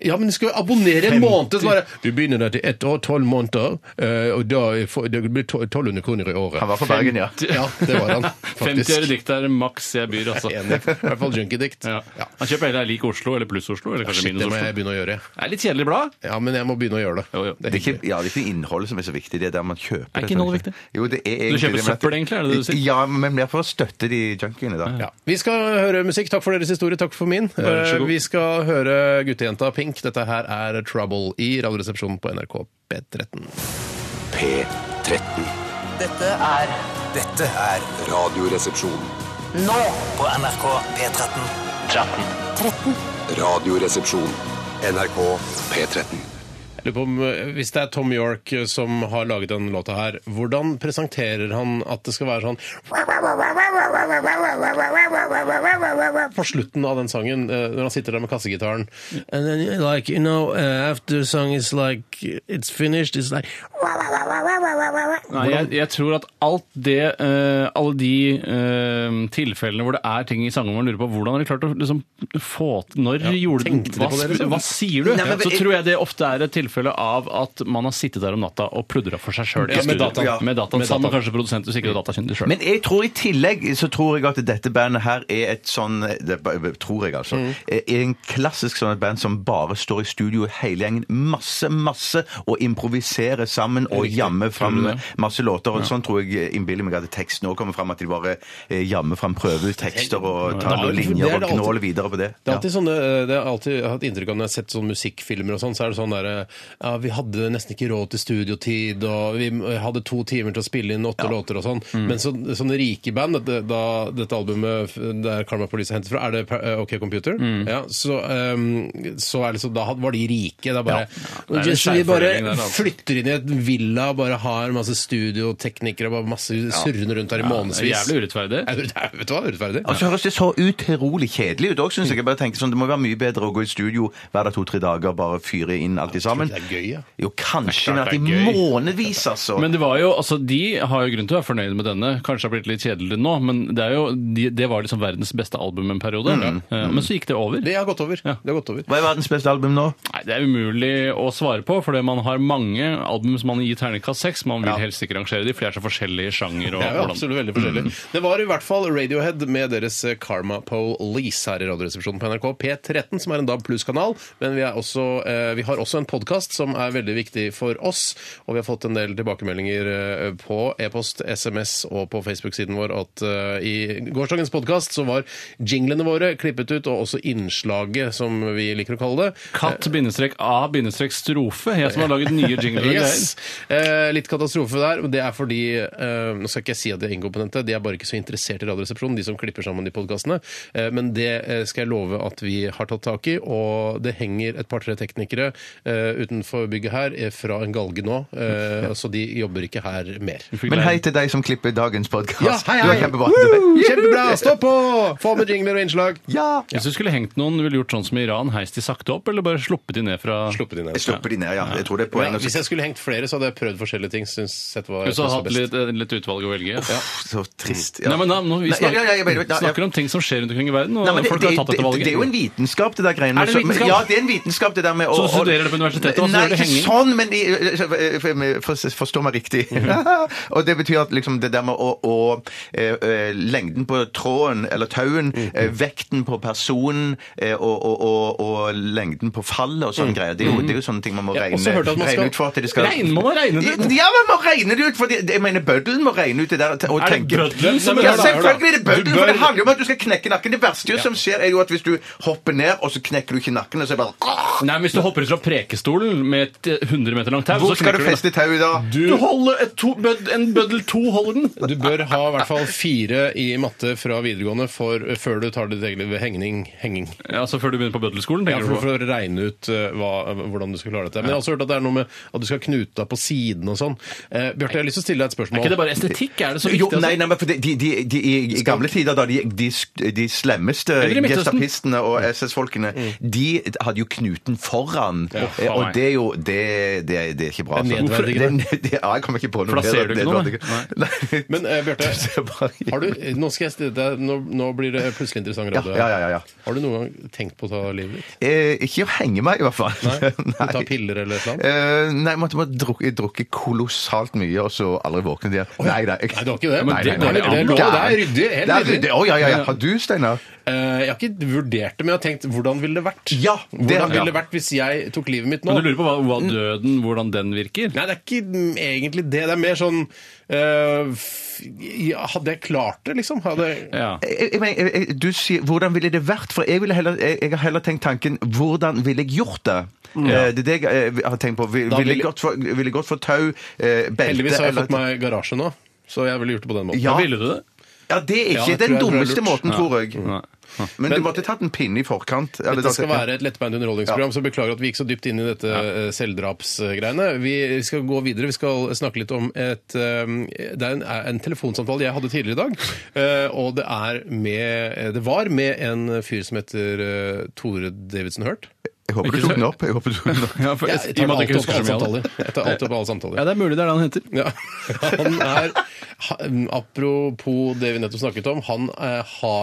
Ja, men du skal jo abonnere en måned! Så bare, du begynner der til ett år, tolv måneder, eh, og da får, det blir to- 1200 kroner i året.
Han var fra Bergen, ja.
Ja, det var han,
50 øre
faktisk.
dikt er maks jeg byr, altså.
Enig. I hvert fall junkiedikt.
Ja.
Ja.
Han kjøper heller lik Oslo eller pluss Oslo, eller kanskje
Shit, det
minus
må
Oslo.
jeg begynne å gjøre.
Det er litt kjedelig blad.
Ja, men jeg må begynne å gjøre det.
Jo, jo.
Det
Det er ikke, ja, det er ikke innholdet som er så viktig, det er der man kjøper.
Er
det,
ikke innholdet
tror jeg.
viktig?
Jo, det er egentlig
kjøper
det, men at-
søppel, egentlig, er det det du sier?
Ja, men mer for å støtte de junkiene, da.
Ja. Vi skal høre musikk. Takk for deres historie. Takk for min.
Vær så god.
Eh, Vi skal høre guttejenta Pink. Dette her er Trouble i Radioresepsjonen på NRK P13.
P13.
Dette er
Dette er Radioresepsjon.
nå på NRK P13.
Radioresepsjon. NRK P13.
Jeg Lurer på om, eh, hvis det er Tom York eh, som har laget den låta her, hvordan presenterer han at det skal være sånn På slutten av den sangen, eh, når han sitter der med kassegitaren And then, like, you know, eh, after the song is like, it's finished, it's like
Nei, jeg, jeg tror at alt det, eh, alle de eh, tilfellene hvor det er ting i sangen hvor man lurer på hvordan har de klart å liksom, få til Når gjorde den
tenkte de
hva,
på det, liksom?
hva sier du?
Nei, men-
så tror jeg det ofte er et tilfelle av at man har sittet der om natta og pludra for seg sjøl.
Ja, med dataen. Ja.
Med dataen.
Med
Sammen med
dataen. Mm.
kanskje produsent, hvis ikke du er datakyndig sjøl.
Men jeg tror i tillegg så tror jeg at dette bandet her er et sånn det, Tror jeg, altså.
Mm.
Er en klassisk sånn et band som bare står i studio hele gjengen masse, masse og improviserer sammen og jammer fram
Tror du det?
masse låter. Og sånn tror jeg innbiller meg at teksten òg kommer fram, at de bare eh, jammer fram, prøver ut tekster og tar
Nei,
noen
det er det
linjer og
alltid.
gnåler videre på det.
Det er alltid sånne, eh, det er alltid jeg har hatt inntrykk av når jeg har sett sånne musikkfilmer og sånn, så er det sånn derre ja, Vi hadde nesten ikke råd til studiotid, og vi hadde to timer til å spille inn åtte låter og sånn.
Mm.
Men så, sånne rike band, dette, da, dette albumet f- der Karma Police er hentet fra, er det Pa- OK Computer?
Mm.
Ja, så, ehm, så er det så, da had- var de rike. Da bare
Det er en
Just, Vi bare
skjevfordeling der, da.
flytter inn i et villa, bare har masse studioteknikere og bare masse surrende rundt her i
Det er
månedsvis.
jævlig urettferdig.
Ja, det er- Vet du hva, urettferdig.
Og så Altså, høres det så utrolig kjedelig ut òg, syns jeg. Jeg bare tenker sånn, Det må være mye bedre å gå i studio hver dag to-tre dager og bare fyre inn alt i sammen.
det er gøy, ja.
Jo, kanskje, men at
det
i
er gøy.
månedsvis, altså.
Men det var jo, altså De har jo grunn til å være fornøyde med denne. Kanskje det har blitt litt kjedelig nå, men det, er jo, de, det var liksom verdens beste album en periode. Eh, Men så gikk det over.
Mm. Det har gått over. Det har gått over.
Hva er verdens beste album nå?
Nei, Det er umulig å svare på, fordi man har mange album som man gir terningkast seks. Man vil helst ikke rangere de, for de er så forskjellige sjanger. og
Det er jo
hvordan- Mm.
absolutt veldig forskjellig. Det var i hvert fall Radiohead med deres eh, Karma Police her i Radioresepsjonen på NRK P13, som er en DAB pluss-kanal. Men vi, er også, eh, vi har også en podkast som er veldig viktig for oss. Og vi har fått en del tilbakemeldinger eh, på e-post, SMS og på Facebook-siden vår at eh, i gårsdagens podkast så var jinglene våre klippet ut, og også innslaget, som vi liker å kalle det.
Katt-a-strofe, jeg som har laget nye jingler. og
Yes. Eh, litt katastrofe der. og Det er fordi eh, Nå skal ikke jeg si at de er inkompetente, de er bare ikke så interessert i Radioresepsjonen, de som klipper sammen de podkastene. Eh, men det eh, skal jeg love at vi har tatt tak i. Og det henger et par-tre teknikere eh, utenfor bygget her eh, fra en galge nå, eh, så de jobber ikke her mer.
greier.
Men hei til deg som klipper dagens podkast.
Ja, hei, hei!
Kjempebra.
Woo! Kjempebra! Stå på! Få med jingler og innslag.
Ja!
Hvis du skulle hengt noen, ville du gjort sånn som Iran, heist de sakte opp, eller bare sluppet de ned fra
Sluppet de ned.
Jeg slipper de ned, ja. Jeg tror det er
Men
poenget.
hvis jeg skulle hengt flere, så hadde jeg prøvd forskjellige ting. Syns, sett hva jeg
Hvis du hadde
synes var
hatt
best.
litt, eh, litt utvalg å velge. Ja.
Så trist.
Nei, men da, nå,
Nei,
vi
ja,
snakker,
ja, ja, jeg vet- ja, ja.
snakker om ting som skjer rundt omkring i verden, og
Nei, men det,
folk
det,
har tatt
det,
dette
det
valget.
er jo en vitenskap, det der greiene.
Er det en
Så- men-
vitenskap?
Ja, det er en vitenskap, det der med å
Så du
å-
studerer det på universitetet og så
Nei,
gjør du
ikke
henging.
sånn, men i- for- for- forstå meg riktig.
Mm.
og det betyr at liksom det der med å, å eh, eh, Lengden på tråden eller tauen,
Mm,
eh, vekten på personen eh, og, og, og, og lengden på fallet og
Mm.
sånne greier, det er, jo, det er jo sånne ting man må
Jeg har
regne,
også hørt at man skal-
regne ut for at det skal
Regne- må man regne det ut?
Ja, man må regne det ut! For det, jeg mener, bøddelen må regne ut det der. Og
Er det
tenke-
bøddelen som
Ja,
gjør det?
selvfølgelig er det bøddelen!
Du
For
bør-
det handler jo om at du skal knekke nakken. Det verste jo som skjer, er jo at hvis du hopper ned, og så knekker du ikke nakken, og så er det bare
Nei, men Hvis du hopper ut fra Prekestolen med et eh, 100 meter langt tau
Hvor
så
skal du
knekker
feste tauet da?
Du, du holder et to, bød, en bøddel to holder den.
Du bør ha i hvert fall fire i matte fra videregående for, før du tar ditt eget ved hengning. henging.
Ja, altså Før du begynner på bøddelskolen?
Ja,
tenker du
for,
på.
for å regne ut eh, hva, hvordan du skal klare dette. Men jeg har også hørt at det er noe med at du skal knute deg på siden og sånn. Eh, Bjarte, jeg har lyst til å stille deg et
Er
spørsmål.
ikke det bare estetikk? Er det så viktig?
Jo,
altså?
nei, nei, men for de, de, de, de, I gamle tider, da de, de, sk- de slemmeste
Eller i Midtøsten.
gestapistene og
Mm.
SS-folkene, de hadde jo knuten foran.
faen
eh, og
meg.
det er jo Det, det, det er ikke bra.
Det er
altså.
nedverdigende.
Det er ned- det- Ja, jeg kommer ikke på noe
Plasserer du ikke noe,
nedverdig- Nei.
Men eh, Bjarte,
ser bare-
har du, nå, skal jeg stille deg, nå, nå blir det plutselig interessant radio.
Ja, ja, ja, ja, ja.
Har du noen gang tenkt på å ta livet ditt?
Eh, ikke å henge meg, i hvert fall.
Nei? Du tar piller eller et eller annet?
Eh, nei, jeg måtte bare drukke, drukke kolossalt mye, og så aldri våkne igjen. Nei, nei, jeg-
Nei, det var ikke det.
Men det går jo an.
Det er lov, det er ryddig, helt
Det er
ryddig.
ryddig. Å, ja, ja, ja. Har du, Steinar?
Eh, Jeg har ikke vurdert det, men jeg har tenkt hvordan ville det vært?
Ja, det-
hvordan ville
ja.
det vært hvis jeg tok livet mitt nå?
Men du lurer på hva, hva
Mm.
døden, hvordan den virker?
Nei, det er ikke mm, egentlig det. Det er mer sånn eh, f- ja, Hadde jeg klart det, liksom? Hadde
Ja.
Jeg, jeg, mener, jeg, jeg, eh, du sier, hvordan ville det vært? For jeg, ville heller, jeg, jeg har heller tenkt tanken hvordan ville jeg gjort det? Eh, Det er det jeg eh, har tenkt på. Vil- Ville
Mm. Da
vil
vil-
jeg gått for, vil jeg gått for tau, eh, belte
Heldigvis har jeg
eller-
fått meg garasje nå, så jeg ville gjort det på den måten.
Ja.
Da ville du det?
Ja, det er
Ja,
ikke den
jeg tror jeg- tror jeg er
dummeste
lurt.
måten, tror jeg.
Nei.
Men du måtte tatt en pinne i forkant. eller
Dette
da-
skal være et lettbeint underholdningsprogram, så beklager at vi gikk så dypt inn i dette eh, selvdrapsgreiene. Vi skal gå videre. Vi skal snakke litt om et eh, Det er en, en telefonsamtale jeg hadde tidligere i dag. eh, Og det er med eh, Det var med en fyr som heter eh, Tore Davidsen Hurt.
Jeg håper du tok den opp. Jeg håper du tok den opp.
Ja, for,
Jeg
i og
tar
med at jeg
alltid
ikke
opp
husker
alle
så mye av det.
samtaler. Jeg tar alltid opp alle
Ja,
samtaler.
det er mulig det er det han heter.
Ja. Han er han, Apropos det vi nettopp snakket om, han eh, ha,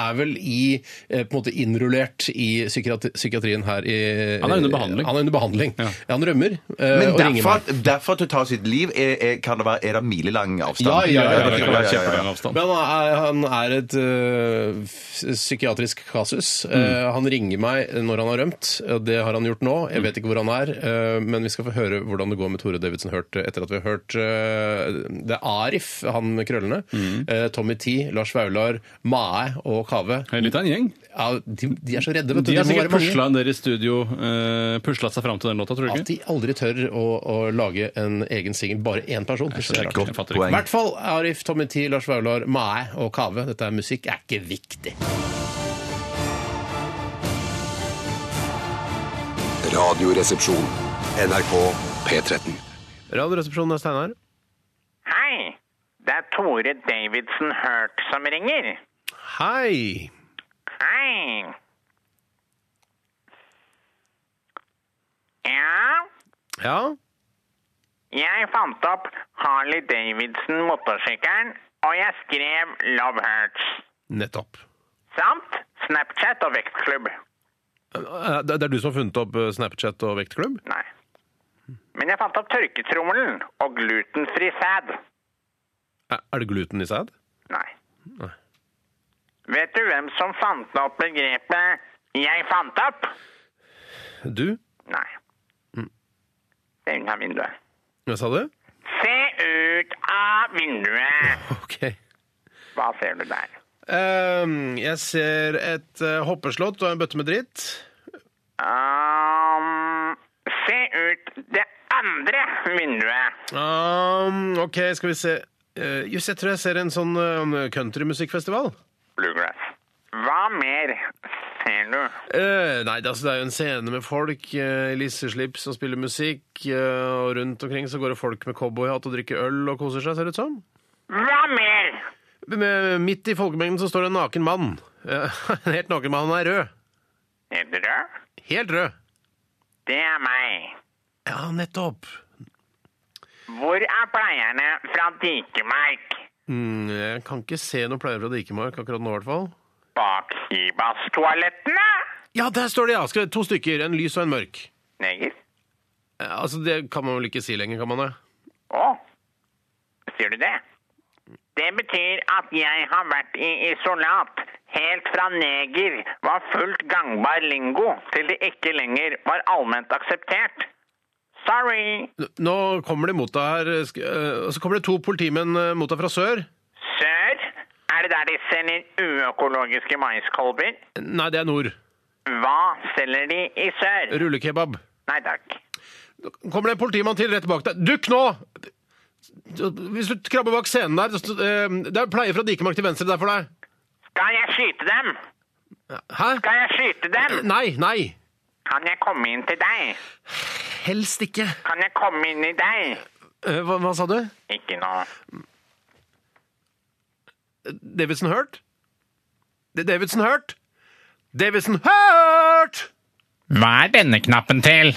er vel i eh, på en måte innrullert i psykiatri, psykiatrien her i
Han er under behandling.
Han er under behandling.
Ja.
Ja. Han rømmer eh,
Men
og ringer
derfor,
meg.
derfor til å ta sitt liv er, er, kan det være, er det milelang avstand.
Ja, ja, ja, ja,
det kan
ja,
være kjempelang avstand.
Men han er, han er et eh, f- psykiatrisk kasus. Eh, han ringer meg når han har rømt. og Det har han gjort nå. Jeg vet ikke hvor han er, eh, men vi skal få høre hvordan det går med Tore Davidsen Hurt eh, etter at vi har hørt eh, Det er Arif, han med krøllene, eh, Tommy T, Lars Vaular, Mae og Kave.
Litt av en gjeng.
Ja, de, de er så redde, vet du.
De har
må
sikkert
være mange.
pusla en del i studio, eh, puslet seg fram til den låta, tror du
At
ikke?
de aldri tør å, å lage en egen singel, bare én person. Det er
rart.
rart.
Jeg fatter
I hvert fall Arif, Tommy T, Lars Vaular, Mae og Kave. Dette er musikk, er ikke viktig.
Radioresepsjon. NRK P13.
Radioresepsjonen er Steinar.
Hei, det er Tore Davidsen Hurt som ringer.
Hei!
Hei. Ja,
Ja?
jeg fant opp Harley Davidson motorsykkelen, og jeg skrev Love Hurts,
Nettopp.
samt Snapchat og vektklubb.
Eh, Det er du som har funnet opp eh, Snapchat og vektklubb?
Nei. Men jeg fant opp tørketrommelen og glutenfri sæd.
Er det gluten i sæd?
Nei. Vet du hvem som fant opp begrepet 'jeg fant opp'?
Du?
Nei. Det er unna vinduet.
Hva sa du?
Se ut av vinduet!
OK.
Hva ser du der?
Ehm, jeg ser et eh, hoppeslott og en bøtte med dritt.
Um, se ut det andre vinduet.
Um, OK, skal vi se Eh, Just, jeg tror jeg ser en sånn eh, countrymusikkfestival.
Bluegrass. Hva mer ser du?
Eh, nei, det, altså, det er jo en scene med folk eh, i lisseslips som spiller musikk, eh, og rundt omkring så går det folk med cowboyhatt og drikker øl og koser seg, ser det ut som.
Hva mer?
Med- eh, Midt i folkemengden så står det en naken mann. Eh, En helt naken mann, han er rød.
Er du rød?
Helt rød.
Det er meg.
Ja, nettopp.
Hvor er pleierne fra Dikemark?
Mm, jeg kan ikke se noen pleier fra Dikemark akkurat nå, i hvert fall.
Bak Kibas-toalettene?
Ja, der står det, ja! Skal, to stykker. En lys og en mørk.
Neger.
Eh, Altså, Det kan man vel ikke si lenger, kan man det?
Å, sier du det? Det betyr at jeg har vært i isolat helt fra neger var fullt gangbar lingo til det ikke lenger var allment akseptert. Sorry,
Nå kommer de mot deg her, eh, sk- eh, og så kommer det to politimenn eh, mot deg fra sør.
sør. Er det der de selger uøkologiske maiskolber?
Nei, det er nord.
Hva selger de i sør?
Rullekebab.
Nei takk.
Kommer det en politimann til rett bak deg. Dukk nå! Hvis du krabber bak scenen der så- eh, Det er pleier fra Dikemark til venstre der for deg.
Skal jeg skyte dem?
Hæ?
Skal jeg skyte dem?
Nei, nei.
Kan jeg komme inn til deg?
Helst ikke.
Kan jeg komme inn i deg?
Eh, Hva, hva sa du?
Ikke nå.
Davidson hørt? Det er Davidson hørt? Davidson hørt!
Hva er denne knappen til?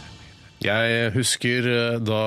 Jeg husker eh, da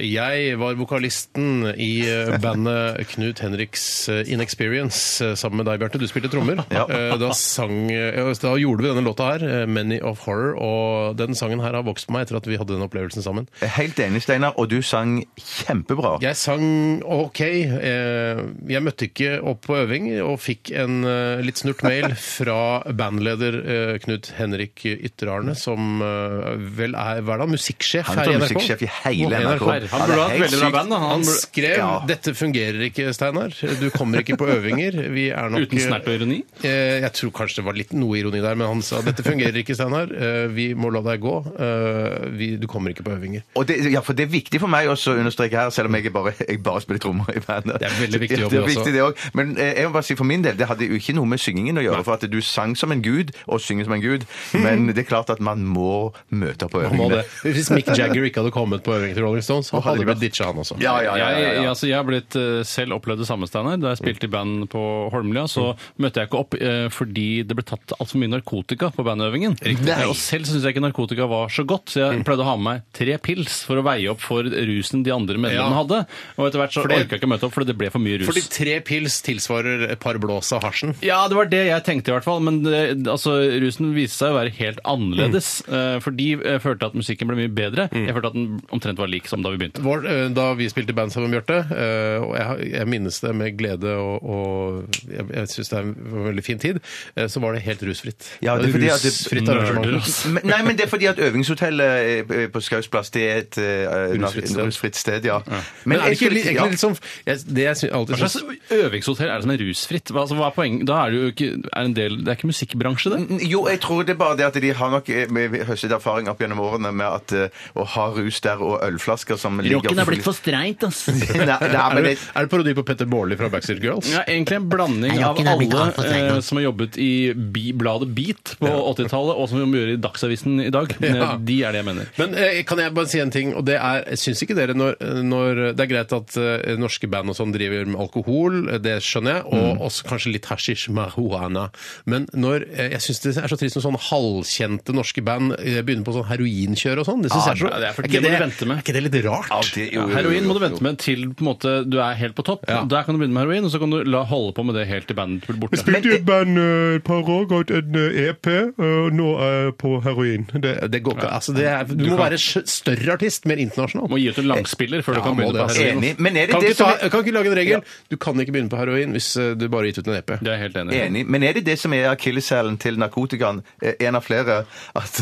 jeg var vokalisten i eh, bandet Knut Henriks eh, Inexperience eh, sammen med deg, Bjarte. Du spilte trommer. Eh, Da, sang, eh, ja, da gjorde vi denne låta her, eh, 'Many of Horror', og den sangen her har vokst på meg etter at vi hadde den opplevelsen sammen.
Jeg er Helt enig, Steinar, og du sang kjempebra.
Jeg sang OK. eh, Jeg møtte ikke opp på øving og fikk en eh, litt snurt mail fra bandleder eh, Knut Henrik Ytterarne, som eh, vel er hva er det, han, musikksjef
Han er sånn
her i NRK.
musikksjef i hele NRK.
Han
Han burde ha et veldig bra band. da.
Han
Han burde...
skrev
Ja.
'Dette fungerer ikke, Steinar. Du kommer ikke på øvinger'. Vi er nok
Uten snert og ironi?
Eh, Jeg tror kanskje det var litt noe ironi der, men han sa 'Dette fungerer ikke, Steinar. Eh, Vi må la deg gå. Eh, Vi, du kommer ikke på øvinger'.
Og det, ja, for det er viktig for meg også å understreke her, selv om jeg bare, jeg bare spiller trommer i bandet.
Det er veldig viktig jobb,
det er
det også.
viktig det også. Men eh, jeg må bare si for min del, det hadde jo ikke noe med syngingen å gjøre, for at du sang som en gud, og synger som en gud, men det er klart at man må møte på
Han må
øvingene.
det. Hvis Mick Jagger ikke hadde kommet på øving til Rolling Stones, så hadde det blitt ditcha, han også.
Ja, ja, ja. ja,
Jeg,
ja, ja.
altså, jeg har blitt eh, selv opplevd det samme, Steinar. Da jeg
Mm.
spilte i band på Holmlia, så møtte jeg ikke opp eh, fordi det ble tatt altfor mye narkotika på bandøvingen. Eh, Og selv syns jeg ikke narkotika var så godt, så
Mm.
jeg pleide å ha med meg tre pils for å veie opp for rusen de andre medlemmene
Ja.
hadde. Og etter hvert så
Fordi-
orka jeg ikke møte opp fordi det ble for mye rus.
Fordi tre pils tilsvarer et par blås av hasjen.
Ja, det var det jeg tenkte i hvert fall, men eh, altså, rusen viste seg å være helt annerledes.
Mm.
eh, Fordi jeg følte at musikken ble mye bedre. Jeg følte at den omtrent var lik som da vi begynte.
Vår, eh, da vi spilte i band sammen med Bjarte, eh, og jeg, jeg minnes det med glede og, og jeg, jeg syns det er en veldig fin tid, eh, så var det helt rusfritt.
Ja, det er fordi at det-
rusfritt
Nerder,
arrangement.
altså.
Men- Nei, men det er fordi at øvingshotellet eh, på Skaus plass, det er et eh,
Rusfritt sted.
rusfritt sted, ja.
Men er det ikke
jeg
litt,
skulle-
egentlig litt sånn jeg, Det jeg syns- alltid
Hva slags
syns
øvingshotell er det som er rusfritt? Hva, altså, hva er poenget? Da er det jo ikke er en del, Det er ikke musikkbransje, det.
Jo, jeg tror det er bare det at de har nok eh, med- høstet erfaring opp gjennom årene med at eh, å ha rus der og ølflasker som ligger
streit, ass.
Nei, nei,
er
men
det,
det,
er det parodi på Petter Baarli fra Backstreet Girls?
Ja, egentlig en blanding av alle eh, som har jobbet i bi, bladet Beat på 80-tallet, og som vi må gjøre i Dagsavisen i dag.
Ja.
De er det jeg mener.
Men eh, kan jeg bare si en ting, og det er jeg Syns ikke dere når, når Det er greit at eh, norske band og sånn driver med alkohol, eh, det skjønner jeg, og
Mm.
også kanskje litt hashish, marihuana, men når eh, Jeg syns det er så trist når sånn halvkjente norske band eh, begynner på sånn heroinkjør og sånn. Det syns jeg er så
det er for-
ikke
det må du
det-
vente med.
Er ikke det litt rart?
Ja, heroin må du vente med til på en måte, du er helt på topp.
Ja.
Der kan du begynne med heroin, og så kan du la, holde på med det helt til bandet blir borte.
spilte i et
band eh, et par år, ga ut en eh, EP, og nå er jeg på heroin. Det, går ikke. Altså, det er, du,
Du
må
kan-
være sj- større artist, mer internasjonal.
Må gi ut en langspiller før
Ja,
du kan
må
begynne
det,
på
altså.
heroin.
Enig, men er det
Kan
det
ikke,
som
ta,
er,
kan ikke lage en regel. Du kan ikke begynne på heroin hvis eh, du bare har gitt ut en EP.
Det er jeg helt enig. i.
enig, men er det det som er akilleshælen til narkotikaen, eh, en av flere, at,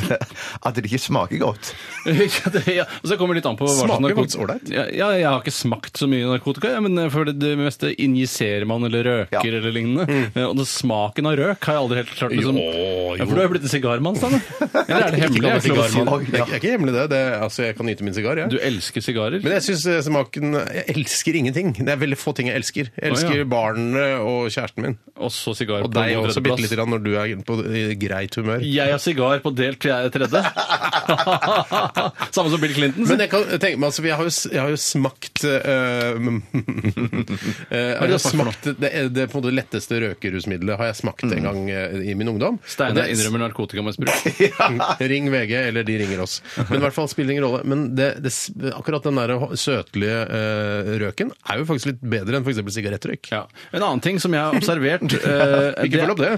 at det ikke smaker godt?
ja, det, ja. Og så kommer det litt an på hva slags
Smaker
narko-
faktisk ålreit.
Ja, ja, jeg har ikke smakt så mye narkotika, ja, men eh, for det, det meste injiserer man eller røker
Ja.
eller lignende. Eh, Og det, smaken av røk har jeg aldri helt klart liksom.
Mm. Jo, jo.
Ja, for du har jo blitt en sigarmann, Stanne. Eller er det hemmelig? Er det lov å si det?
sigarmann.
Det er ikke- det er ikke hemmelig, det. det er, altså, jeg kan nyte min sigar, jeg.
Du elsker sigarer?
Men jeg syns smaken Jeg elsker ingenting. Det er veldig få ting jeg elsker. Jeg elsker
Å, ja.
barnet og kjæresten min.
Og så sigar
Og
på
deg
en
også, bitte
tredjeplass.
lite grann, når du er på i greit humør.
Jeg har sigar på delt tredje. Samme som Bill Clinton.
Men jeg kan tenke meg, altså, jeg har jo, s- jeg har jo smakt eh, eh,
er det
Jeg har
du har smakt for noe? Mm.
smakt det, det på en måte letteste røkerusmiddelet har jeg smakt en gang eh, i min ungdom.
Steinar
Det-
innrømmer narkotikamisbruk.
Ring VG, eller de ringer oss. Men i hvert fall spiller ingen rolle. Men det, det, s- akkurat den der søtlige eh, røken er jo faktisk litt bedre enn f.eks. sigarettrøyk.
Ja. En annen ting som jeg har observert eh,
Ikke følg opp det.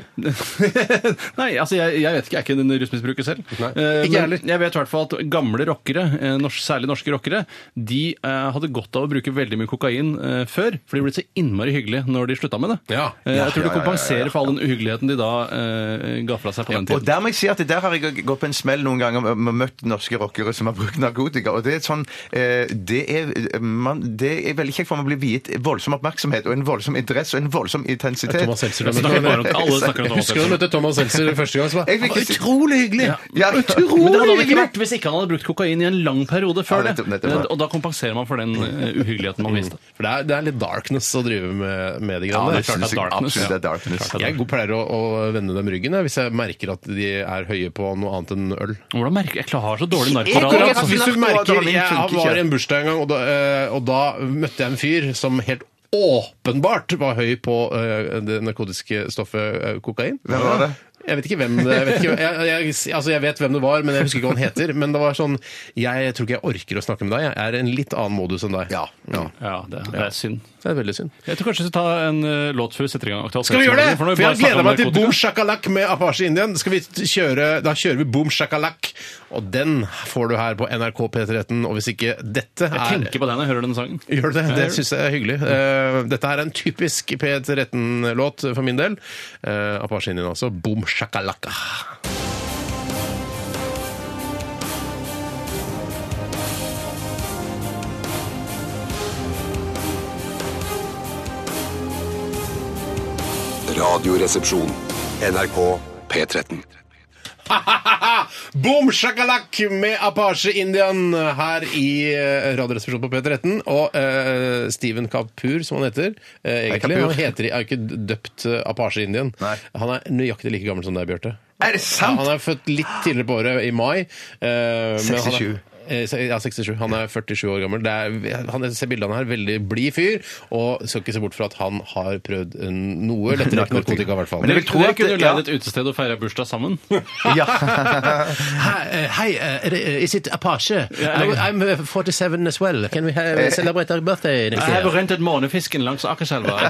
Nei, altså jeg, jeg vet ikke. Jeg er ikke en rusmisbruker selv.
Nei,
Eh,
ikke
men
heller.
Jeg vet i hvert fall at gamle rockere, eh, norsk, særlig norske rockere, de eh, hadde godt av å bruke veldig mye kokain eh, før, for de ble så innmari hyggelige når de slutta med det.
Ja.
Ja,
Eh, jeg tror
ja, ja,
det
ja,
kompenserer for all den uhyggeligheten de da eh, ga fra seg på den
Og
tiden.
der må jeg si at der har jeg gått på en smell noen ganger og møtt norske rockere som har brukt narkotika. Og det er sånn eh, Det er, man, det er veldig kjekt, for man blir viet voldsom oppmerksomhet og en voldsom interesse og en voldsom intensitet.
Thomas Seltzer.
Jeg snakker bare om, alle snakker om
Husker du da du møtte Thomas Seltzer første gang? Så bare,
Jeg vil ikke
«Å,
si-
utrolig hyggelig!
Ja.
Utrolig
Men det hadde han ikke
hyggelig!
vært hvis ikke han hadde brukt kokain i en lang periode før
Ja,
det.
nettopp, nettopp, ja.
Eh, Og da kompenserer man for den eh, uhyggeligheten man viste.
For det er, det er litt darkness å drive med, med de
Ja, det
greiene der.
er klart det er darkness.
Absolutt, det er darkness.
Klart det er
Jeg pleier å, å vende dem ryggen jeg, hvis jeg merker at de er høye på noe annet enn øl.
Hvordan merker jeg? Jeg har så dårlig
Akkurat,
narkotikk.
Akkurat,
altså.
hvis du merker
Narkotikadamen
Jeg
funker
var
ikke.
i en bursdag en gang, og da, eh, og da møtte jeg en fyr som helt åpenbart var høy på eh, det narkotiske stoffet eh, kokain.
Hvem var det?
Jeg vet ikke hvem det jeg vet ikke, jeg, jeg, altså jeg vet hvem det var, men jeg husker ikke hva han heter. Men det var sånn Jeg tror ikke jeg orker å snakke med deg. Jeg er i en litt annen modus enn deg. Ja.
Ja, det, det er synd.
Det er veldig synd.
Jeg tror kanskje vi skal ta en eh, låt før vi setter i gang.
Skal vi gjøre det? For jeg gleder meg til Boom
boom!
Shakalak med Apache Indian. Skal vi t- kjøre, da kjører vi Boom Shakalak, og den får du her på NRK P13. Og hvis ikke dette
Jeg
er
tenker på den når jeg hører denne sangen.
Gjør du det? Det
gjør
syns jeg er hyggelig. Eh, dette her er en typisk P13-låt for min del. Uh, Apache Indian altså. Boom shakalaka.
Radioresepsjon. NRK P13.
Boom shakalak med Apache Indian her i eh, Radioresepsjonen på P13. Og eh, Steven Kapur, som han heter eh, egentlig.
Kapur.
Han heter, er jo ikke døpt eh, Apache Indian.
Nei.
Han er nøyaktig like gammel som deg, Bjarte.
Er det
Ja,
sant?
han er født litt tidligere på året, i mai. eh, men han er-
67.
eh, se- Ja, 67. Han er 47 år gammel. Det er, han jeg ser bildene her, veldig blid fyr, og skal ikke se bort fra at han har prøvd en, noe lettere narkotika, i hvert fall.
Men jeg vil tro
Dere
at
kunne
ja.
leid et utested og feira bursdag sammen.
Hei, hei, eh, is it Apache?
Ja.
I'm eh, 47 as well. Can we
Eh,
have, celebrate our birthday next
rent et månefisken langs Akerselva.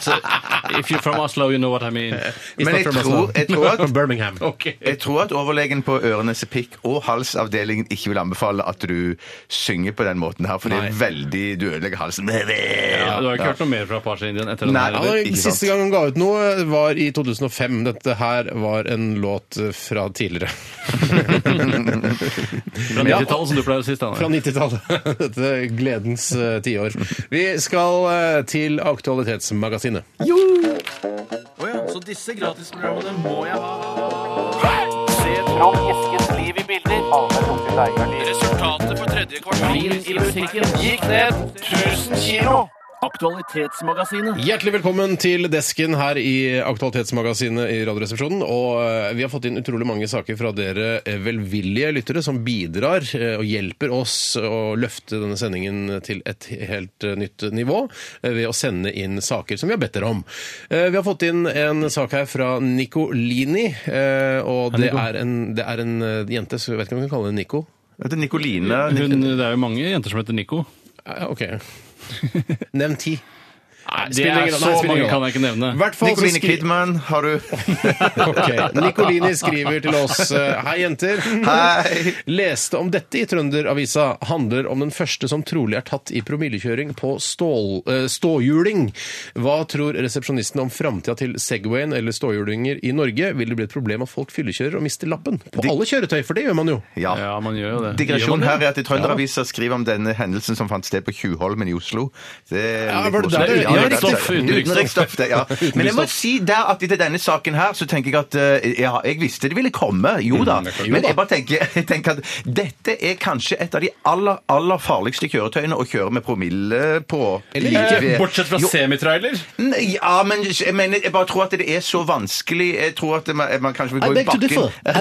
If you're from Oslo, you know what I mean.
It's
Men
not
jeg
from
tror-
altså-
Oslo.
jeg tror at-
From Birmingham.
Jeg tror at overlegen på Ørenes pikk og halsavdelingen ikke vil anbefale at du synger på den måten her, for det er veldig Du ødelegger halsen.
Ja, du har ikke
Ja.
hørt noe mer fra Apache Indian etter den
Nei,
her?
Ja,
eller?
aldri.
den
Ikke sant?
siste gang han ga ut noe, var i 2005. Dette her var en låt eh, fra tidligere.
Fra 90-tallet, som du pleier å si,
Fra
Steinar.
90-tallet. Dette gledens eh, tiår. Vi skal eh, til Aktualitetsmagasinet.
Så disse gratisprogrammene må jeg ha. Resultatet på tredje kvartal i butikken gikk ned 1000 kilo. Aktualitetsmagasinet.
Hjertelig velkommen til desken her i Aktualitetsmagasinet i Radioresepsjonen. Og eh, vi har fått inn utrolig mange saker fra dere eh, velvillige lyttere som bidrar eh, og hjelper oss å løfte denne sendingen til et helt eh, nytt nivå eh, ved å sende inn saker som vi har bedt dere om. Eh, Vi har fått inn en sak her fra Nicolini, eh, og det er en, det er en eh, jente, så jeg vet ikke om vi kan kalle henne Nico.
Dette er Nicoline Nic-
Hun, det er jo mange jenter som heter Nico.
Ja, OK. Nevn ti.
Nei, det
spiller
er
ingen rolle.
så
Nei, spiller
mange
ingen
kan
rolle.
jeg ikke nevne.
I hvert fall så
Nicoline
skri-
Kidman, har du
Ok, Nicolini skriver til oss eh, Hei jenter
Hei.
Leste om dette i Trønderavisa Handler om den første som trolig er tatt i promillekjøring på stål, eh, ståhjuling Hva tror resepsjonisten om fremtiden til Segwayen eller ståhjulinger i Norge? Vil det bli et problem at folk fyllekjører og mister lappen? På alle kjøretøy, for det gjør man jo
Ja.
Ja, man gjør jo det.
Digresjon
Gjør man
her
det?
er at i Trønderavisa skriver om denne hendelsen som fant sted på Tjuvholmen i Oslo. Det er
Ja,
litt
var det
morsomt.
der det-
Ja,
ja,
Utenriksstoff,
Utenriksstoff, det, ja. Men jeg må si der at etter denne saken her, så tenker jeg at eh, ja, jeg visste det ville komme, jo
Mm,
da. Men jeg bare tenker, jeg tenker at dette er kanskje et av de aller, aller farligste kjøretøyene å kjøre med promille på. Eller
Eh, Bortsett fra semitrailer.
Ja, men jeg mener, jeg bare tror at det er så vanskelig. Jeg tror at man, man kanskje vil
I
gå i
beg to
bakken.
differ.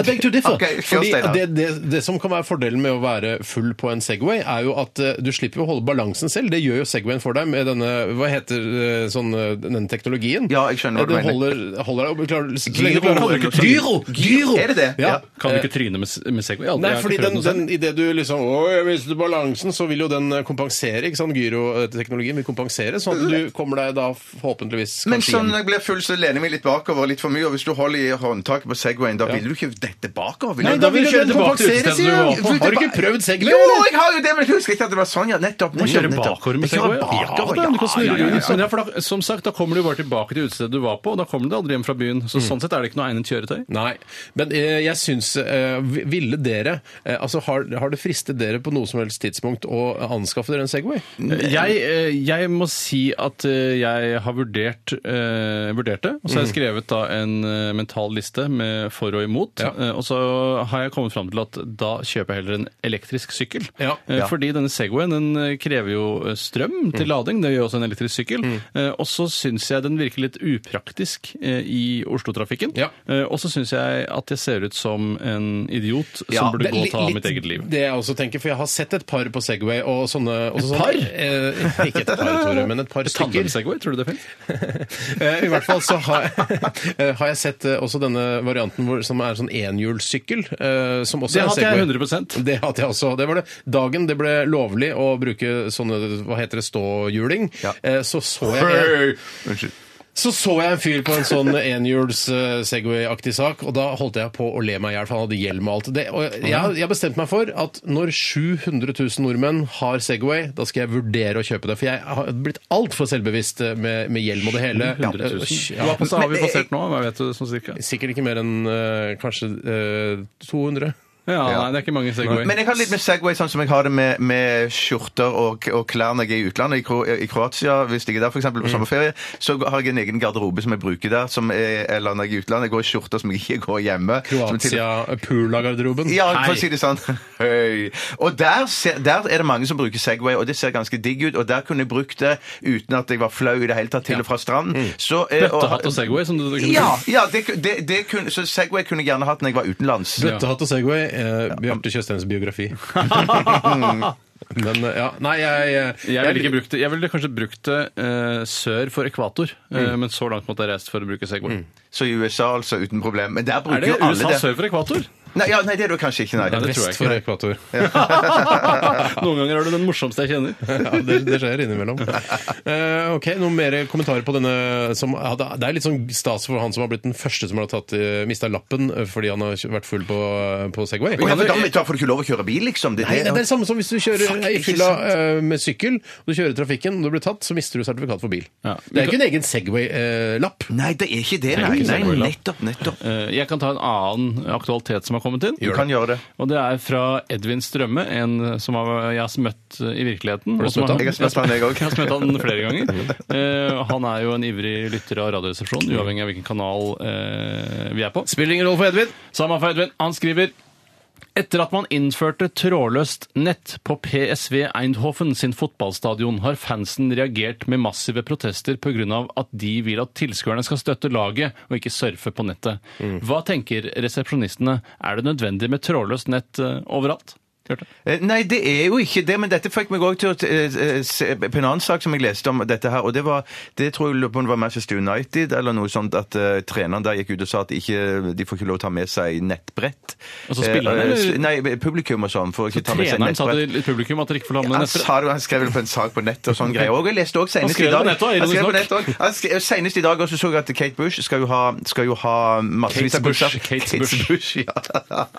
I beg to differ.
Ok, kjør,
Fordi
Steinar.
det, det, det som kan være fordelen med å være full på en Segway, er jo at eh, du slipper å holde balansen selv. Det gjør jo Segwayen for deg med denne hva heter eh, sånn, eh, denne teknologien.
Ja, jeg skjønner hva du
Den
mener.
Holder, holder deg klarer, så lenge du
Gyro,
klarer å holde-
eller noe sånt.
Gyro! Gyro!
Er det det?
Ja.
Ja.
Kan du ikke tryne med, med Segway? Aldri,
Eh, Nei,
jeg har
fordi
ikke prøvd
den,
noe selv.
den, i det du liksom Å, jeg mistet balansen, så vil jo den eh, kompensere. ikke sant? Gyroteknologien vil kompensere, sånn at du kommer deg da forhåpentligvis
Men
kanskje
sånn
hjem.
når jeg blir full, så lener jeg meg litt bakover litt for mye. Og hvis du holder i håndtaket på Segwayen, da vil du ikke dette bakover. Vil
Nei,
du?
da vil jo
kjøre
den
tilbake til
kompensere,
utestedet
sier
du var
jeg!
på.
Har du ikke prøvd Segway?
Jo,
eller?
jeg har jo det, men jeg husker ikke at det var sånn, ja. Nettopp.
Du må
nettopp,
kjøre
nettopp.
bakover med
Jeg kjører
Segway.
bakover,
da, men du kan
ja,
snurre
ja, ja,
rundt,
ja.
men det er for da, som sagt, da kommer du bare tilbake til utestedet du var på, og da kommer du aldri hjem fra byen.
Mm.
Så sånn sett er det ikke noe egnet kjøretøy.
Nei, men eh, jeg syns eh, vi- Ville dere eh, Altså, har, har det fristet dere på noe som helst tidspunkt å anskaffe dere en Segway?
Jeg, eh, jeg må si at eh, jeg har vurdert, eh, vurdert det. Og så har jeg
Mm.
skrevet da en eh, mental liste med for og imot. Eh, og så har jeg kommet fram til at da kjøper jeg heller en elektrisk sykkel.
Ja. Mm.
Eh, Fordi denne Segwayen den eh, krever jo eh, strøm til lading. Det gjør også en elektrisk sykkel. Eh, og så syns jeg den virker litt upraktisk eh, i Oslo-trafikken.
Ja.
Eh, og så syns jeg at jeg ser ut som en idiot som
Ja,
burde
Det
gå
er Eh, li-
og ta
litt
mitt eget liv.
Det jeg også tenker, for jeg har sett et par på Segway og sånne også sånne-
par?
Eh, ikke et par, Tore, men et par stykker.
Tandem-Segway, tror du det fins?
Eh, I hvert fall så har, eh, har jeg sett eh, også denne varianten hvor, som er sånn enhjulssykkel. eh, Som også
Det
er
hadde jeg
Segway.
100
Det hadde jeg også. Det var det. Dagen det ble lovlig å bruke sånne hva heter det, ståhjuling, eh, så så jeg en, så så jeg en fyr på en sånn enhjuls eh, Segway-aktig sak, og da holdt jeg på å le meg i hjel, for han hadde hjelm og alt. Det, og jeg jeg bestemte meg for at når 700 000 nordmenn har Segway, da skal jeg vurdere å kjøpe det. For jeg har blitt altfor selvbevisst eh, med, med hjelm og det hele.
100 000.
Ja.
Hva pass- har vi passert nå? Hva vet du sånn cirka?
Sikkert ikke mer enn eh, kanskje eh, 200.
Ja, nei, det er ikke mange Segway.
Men jeg har litt med Segway, sånn som jeg har det med, med skjorter og, og klær når jeg er i utlandet. I, Kro, I Kroatia, hvis jeg er der for eksempel, på
Mm.
sommerferie, så har jeg en egen garderobe som jeg bruker der. Som er, eller når jeg er i utlandet, jeg går i skjorter som jeg ikke går hjemme. som til-
eh, Kroatia-Pula-garderoben.
Ja, for å si det sånn. Høy. Og der, ser, der er det mange som bruker Segway, og det ser ganske digg ut. Og der kunne jeg brukt det uten at jeg var flau i det hele tatt til og fra stranden. Så, eh, og-
Bøttehatt Mm. og Segway, som du kunne
Ja, ja det, ku- det, det kunne, så Segway kunne jeg gjerne hatt når jeg var utenlands.
Bøttehatt og Segway. Eh, Bjarte Tjøstheims biografi. Men eh, ja, nei, jeg
Jeg ville, ikke brukt det. jeg ville kanskje brukt det eh, sør for ekvator,
Mm.
eh, men så langt måtte jeg reist for å bruke Segway.
Så i USA, altså, uten problem. Men der bruker
Er det
jo alle
USA
Mm. det.
sør for ekvator?
Nei, ja, nei, det er du kanskje ikke, nei.
Nei, det tror jeg
Vest for ekvator.
Noen ganger er du den morsomste jeg kjenner.
Ja, det, det skjer innimellom. Eh, ok, Noen mer kommentarer på denne? Som, ja, det det er litt sånn stas for han som har blitt den første som har tatt, eh, mistet lappen eh, fordi han har vært full på, eh, på Segway.
Ja, for da- da får du ikke lov å kjøre bil, liksom. Det,
Nei, det er det samme som hvis du kjører
Fuck,
i
ikke
fylla
sant.
eh, med sykkel, og du kjører i trafikken, og du blir tatt, så mister du sertifikat for bil.
Ja.
Det er ikke en egen eh, Segway-lapp.
Nei, det er ikke det.
er
Nei, nei,
ikke Segway-lapp.
nettopp, nettopp.
Eh, jeg kan ta en annen aktualitet som har kommet inn.
Du kan gjøre det.
Og det er fra Edvin Strømme, en som har, jeg har møtt i virkeligheten. og som
møtt han?
Jeg har smøtt han, jeg òg.
Jeg har smøtt han flere ganger. Eh, han er jo en ivrig lytter av Radioresepsjonen, uavhengig av hvilken kanal eh, vi er på.
Spiller ingen rolle for Edvin.
Samme for Edvin. Han skriver etter at man innførte trådløst nett på PSV Eindhoven sin fotballstadion, har fansen reagert med massive protester pga. at de vil at tilskuerne skal støtte laget og ikke surfe på nettet.
Mm.
Hva tenker resepsjonistene? Er det nødvendig med trådløst nett eh, overalt? Hørte?
Eh, Nei, det er jo ikke det, men dette fikk meg òg til å eh, eh, se på en annen sak som jeg leste om dette her, og det var Det tror jeg lurer på om det var Manchester United eller noe sånt, at eh, treneren der gikk ut og sa at ikke, de får ikke lov å ta med seg nettbrett.
Altså spillerne,
Eh, eh,
eller?
Nei, publikum og sånn får ikke ta med seg
Treneren sa
nettbrett.
til publikum at dere ikke får la med
Han,
nettet.
sa det, han skrev det på en sak på nett og sånn greier. Og jeg leste også senest i
skrev det på
dag
nettet også,
Han skrev
ironisk
det på nettet også. Han skrev- Senest i dag også så jeg at Kate Bush skal jo ha, skal jo ha massevis av
Kate's Bush,
bursdag.
Kate's Bush.
ja.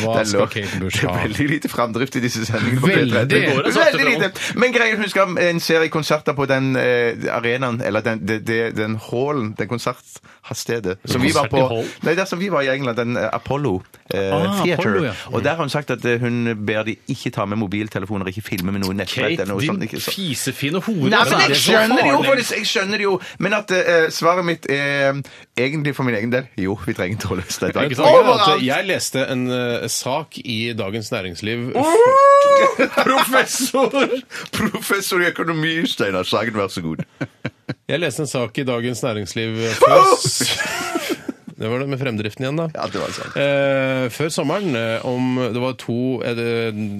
Hva
Det er
skal
lov.
Kate Bush
Det er
ha?
Veldig lite framdrift i disse sendingene. på
Veldig.
P13.
Det går
jo sakte
Veldig lite. Men greier hun skal ha en serie konserter på den eh, arenaen, eller den, det- det- den hallen, den konsert... ha stedet. Som vi var på,
Konsert i
nei, der som vi var i England, den eh, Apollo eh,
Ah,
Theater.
Apollo, ja.
Og der har hun sagt at eh, hun ber de ikke ta med mobiltelefoner, ikke filme med noe nettbrett
Kate,
eller noe
din
sånt. Ikke, så.
fisefine hore.
Nei,
så
men
er
jeg
det så
skjønner det jo,
farlig.
faktisk, jeg skjønner det jo. Men at eh, svaret mitt er eh, egentlig for min egen del jo, vi trenger trådløst nettverk.
Ikke sant?
Overalt!
Jeg leste en eh, sak i Dagens Næringsliv
Professor! Professor i økonomi, Steinar Sagen, vær så god.
Jeg leste en sak i Dagens Næringsliv før Det var det med fremdriften igjen, da.
Ja, det var det sant.
Eh, før sommeren eh, om Det var to, er det,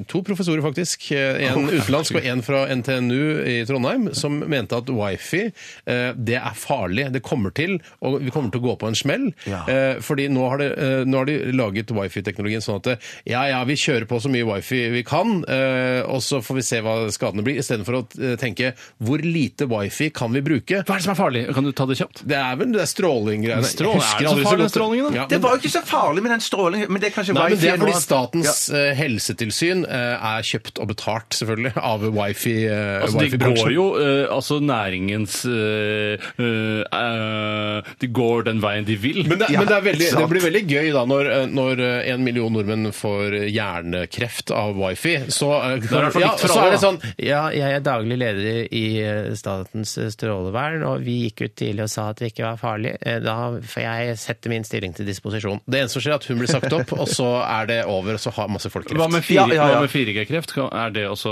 to professorer, faktisk. eh, En utenlandsk og en fra NTNU i Trondheim, som mente at wifi eh, det er farlig. Det kommer til, og vi kommer til å gå på en smell.
Ja.
Eh, fordi nå har, det, eh, nå har de laget wifi-teknologien sånn at det, ja, ja, vi kjører på så mye wifi vi kan, eh, og så får vi se hva skadene blir, istedenfor å eh, tenke hvor lite wifi kan vi bruke?
Hva er det som er farlig? Kan du ta det kjapt?
Det er vel det er stråling-greiene.
Stråling-
Jeg husker
er det aldri så
ikke farlig,
godt, strålingen, da?
Ja,
Det
men-
var jo ikke så farlig med den strålingen, men det er kanskje
Nei, men
wifi
det er fordi
nå.
Statens eh, helsetilsyn eh, er kjøpt og betalt, selvfølgelig, av wifi. eh,
Altså, de
wifi-bransjen.
går jo eh, altså næringens eh, eh, eh, De går den veien de vil.
Men, det,
Ja,
men det, er veldig,
sant.
det blir veldig gøy da når, eh, når eh, en million nordmenn får hjernekreft av wifi. Så, eh,
er det i hvert fall
ja,
litt for
så
alle,
er det
da.
sånn
Ja, jeg er daglig leder i eh, Statens eh, strålevern, og vi gikk ut tidlig og sa at det ikke var farlig. Eh, Da får jeg sette min stilling til disposisjon.
Det eneste som skjer, er at hun blir sagt opp, og så er det over, og så har masse folk
Hva
kreft.
med fire-
Ja, ja, ja.
hva med 4G-kreft? Kan- Er det også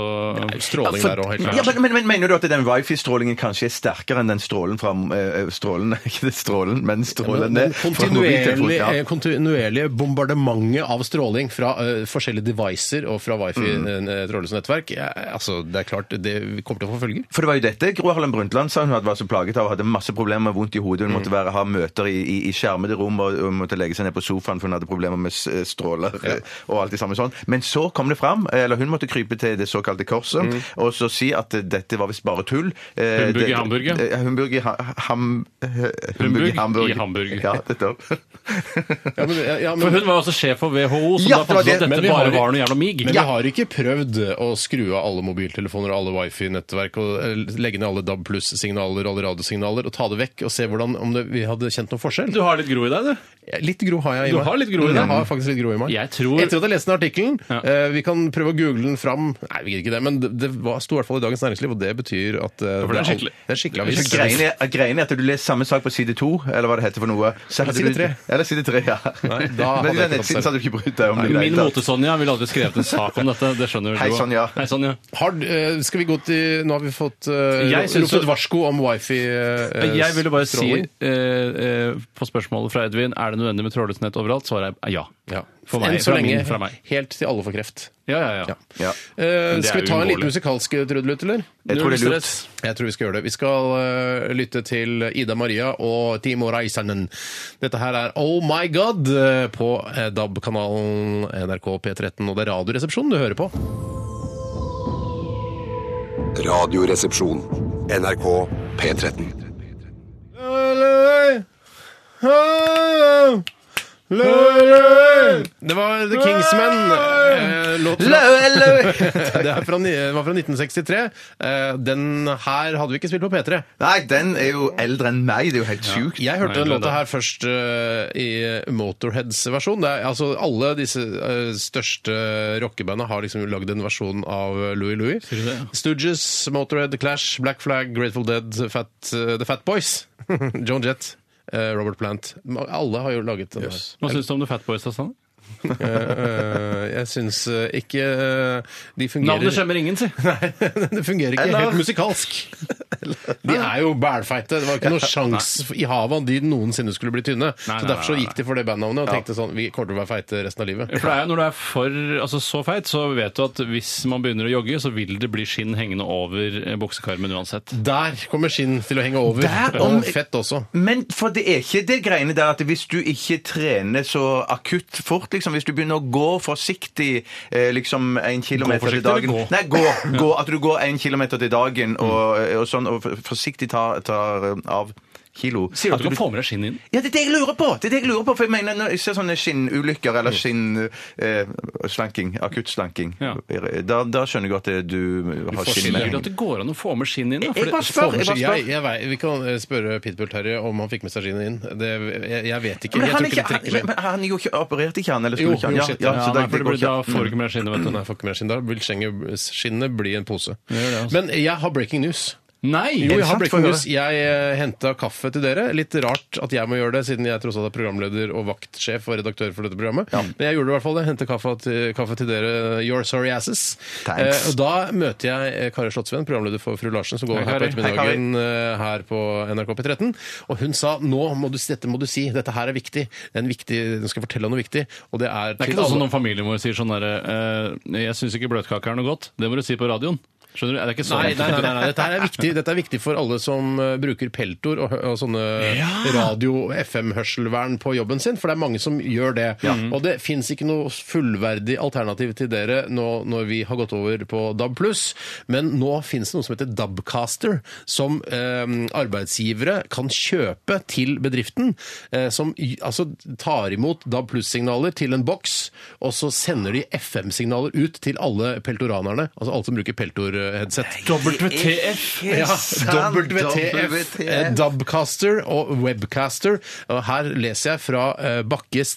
Stråling der òg, helt
Ja,
klart.
men, men, men Mener du at den wifi-strålingen kanskje er sterkere enn den strålen fra eh, strålen, Ikke det strålen, men
Men
strålen
den
fra mobiltelefonen,
kontinuerlige,
ja.
eh, kontinuerlige bombardementet av stråling fra eh, forskjellige devices og fra wifi
Mm.
eh, trådløse nettverk, eh, altså, det er klart det kommer til å få følger.
For det var jo dette Gro Harlem Brundtland sa hun hadde vært så plaget av. Hadde masse problemer med vondt i hodet.
Mm.
Hun måtte være, ha møter i, i, i skjermede rom og hun måtte legge seg ned på sofaen for hun hadde problemer med s- stråler eh, og alt det samme sånn. Men så kom det fram, eller hun måtte krype til det såkalte korset
Mm.
og så si at eh, dette var visst bare tull. Eh,
Humbug i
det-
Hamburg, ja.
eh, Humbug i ha, ham... eh,
Humbug i
Hamburg.
Hamburg.
Ja, nettopp.
Ja, men, ja, men,
For hun var også sjef for WHO, så
Ja,
da fant
det var
vi
det.
ut at
Men
dette
vi
bare
har-
var noe jævla mig.
men vi har ikke prøvd å skru av alle mobiltelefoner og alle wifi-nettverk og eh, legge ned alle DAB pluss-signaler og alle radiosignaler og ta det vekk og se hvordan, om det, vi hadde kjent noen forskjell.
Du har litt gro i deg, du.
Litt gro har jeg i
Du
meg.
har litt gro i deg.
jeg har faktisk litt gro i meg.
Jeg tror-
Etter at jeg leste den artikkelen
Ja.
eh, Vi kan prøve å google den fram. Nei, vi gidder ikke det, men det, det var, sto i hvert fall i Dagens Næringsliv, og det betyr at eh,
for det er
all-
skikkelig.
det er
Så
skikkelig avis.
Greien er, at- greien er at du leser samme sak på side to, eller hva det heter for noe. så hadde
side
du-
tre.
Eller side tre, ja.
Nei, da
Men
hadde jeg
i
ikke
den nettsiden så hadde du ikke brydd deg om det. i det
Min
hele tatt.
mote-Sonja ville aldri skrevet en sak om dette. Det skjønner
Hei,
du. også.
Sonja.
Hei, Sonja.
Har, eh, skal vi gå til Nå har vi fått eh,
Jeg synes
ropt
så-
et varsko om wifi. eh,
Jeg ville bare si
stråling.
eh, eh, på spørsmålet fra Edvin er det nødvendig med trådløst nett overalt, svaret er ja.
ja.
For meg,
Enn så
fra
lenge,
min, fra meg.
helt til alle får kreft.
Ja, ja, ja.
Ja.
Eh,
det
skal
er
vi ta en
uunngåelig.
liten musikalsk eh, trudelutt, eller?
Jeg tror det er
Null
lurt.
stress.
Jeg tror vi skal gjøre det. Vi skal eh, lytte til Ida Maria og Timo Reisanen. Dette her er Oh My God eh, på eh, DAB-kanalen NRK P13, og det er Radioresepsjonen du hører på.
Radioresepsjon. NRK P13.
Det var The Kingsmen. eh, Låt fra, det er fra, ni- det var fra 1963. Eh, Den her hadde vi ikke spilt på P3.
Nei, den er jo eldre enn meg. Det er jo helt sjukt.
Jeg hørte
Nei, det
den
er
låta
det.
her først eh, i Motorheads versjon. Det er, altså, alle disse eh, største rockebandene har liksom lagd en versjon av Louis Louis.
du det, ja?
Stooges, Motorhead, Clash, Black Flag, Grateful Dead, Fat, eh, The Fat Boys, Joan Jett. eh, Robert Plant. Alle har jo laget den. her.
Hva syns du om The Fat Boys? Hassan?
Eh, eh, jeg syns eh, ikke eh, de fungerer
Navnet skjemmer ingen, si.
Det fungerer ikke
Eller-
helt musikalsk. De er jo bælfeite. Det var ikke noe sjans i havet om de noensinne skulle bli tynne.
Nei,
Så
nei,
derfor så
nei, nei.
gikk de for det bandnavnet og tenkte sånn Vi kommer til å være feite resten av livet.
For det er jo Når du er for altså, så feit, så vet du at hvis man begynner å jogge, så vil det bli skinn hengende over eh, buksekarmen uansett.
Der kommer skinn til å henge over.
Der om-
og fett også.
Men for det er ikke det greiene der at hvis du ikke trener så akutt fort, liksom, hvis du begynner å gå forsiktig eh, liksom en kilometer til
forsiktig
dagen
eller gå?
Nei, gå, eh, gå! At du går en kilometer til dagen og, og sånn, og f- forsiktig tar, tar av kilo.
Sier
At
du at du kan få med deg skinnet inn?
Ja, det er det jeg lurer på! Det er det jeg lurer på, For jeg mener, når jeg ser sånne skinnulykker eller skinnslanking, akutt slanking, eh,
Ja.
da, da skjønner jeg at det- du har skinn
Skjønner du
med.
at det går an å få med skinnet inn? Da? For
Jeg
det-
bare spør! Jeg bare
Jeg,
spør.
jeg, vei- vi kan eh, spørre Pitbull Terje om han fikk med seg skinnet inn. Det, jeg, jeg vet ikke.
Men
Jeg
han,
tror
er ikke,
ikke de
han,
trekker det inn.
men han gjorde ikke, opererte ikke han, eller
Jo,
skulle ikke han?
jo,
Ja,
shit,
ja,
Ja,
så da,
nei,
det
for det
går
blir,
ikke.
da får du ikke med deg skinnet, vet du.
Nei, får ikke med seg skinn. Da vil skjenget- skinnet bli en pose.
gjør det, altså.
Men jeg har breaking news.
Nei!
Jo, jeg har
sant? Få
breaking
høre.
news. Jeg uh, henta kaffe til dere. Litt rart at jeg må gjøre det, siden jeg tross alt er programleder og vaktsjef og redaktør for dette programmet. Men jeg gjorde det i hvert fall. Jeg hentet kaffe til, kaffe til dere, your sorry asses.
Thanks.
Eh, og da møter jeg eh, Kari Slottsvenn, programleder for Fru Larsen, som går
Hei,
her på
Kari.
ettermiddagen eh, her på NRK P13. Og hun sa nå må du, dette må du si, dette her er viktig. Det er en viktig Hun skal fortelle om noe viktig, og det er
Det er ikke sånn som noen familiemor sier sånn derre eh, 'Jeg syns ikke bløtkake er noe godt'. Det må du si på radioen. Skjønner du? Det er ikke sånn.
Nei, nei, nei, nei, nei. Dette, her er viktig. Dette er viktig for alle som eh, bruker peltor og, hø- og sånne radio-FM-hørselvern på jobben sin, for det er mange som gjør det. Og det fins ikke noe fullverdig alternativ til dere nå, når vi har gått over på DAB+, men nå fins det noe som heter Dabcaster, som eh, arbeidsgivere kan kjøpe til bedriften, eh, som i- altså tar imot DAB signaler til en boks, og så sender de FM-signaler ut til alle peltoranerne, altså alle som bruker peltor-headset.
WTF!
Ja,
sant?
WTF.
WTF.
eh, Dubcaster og Webcaster. Og her leser jeg fra eh,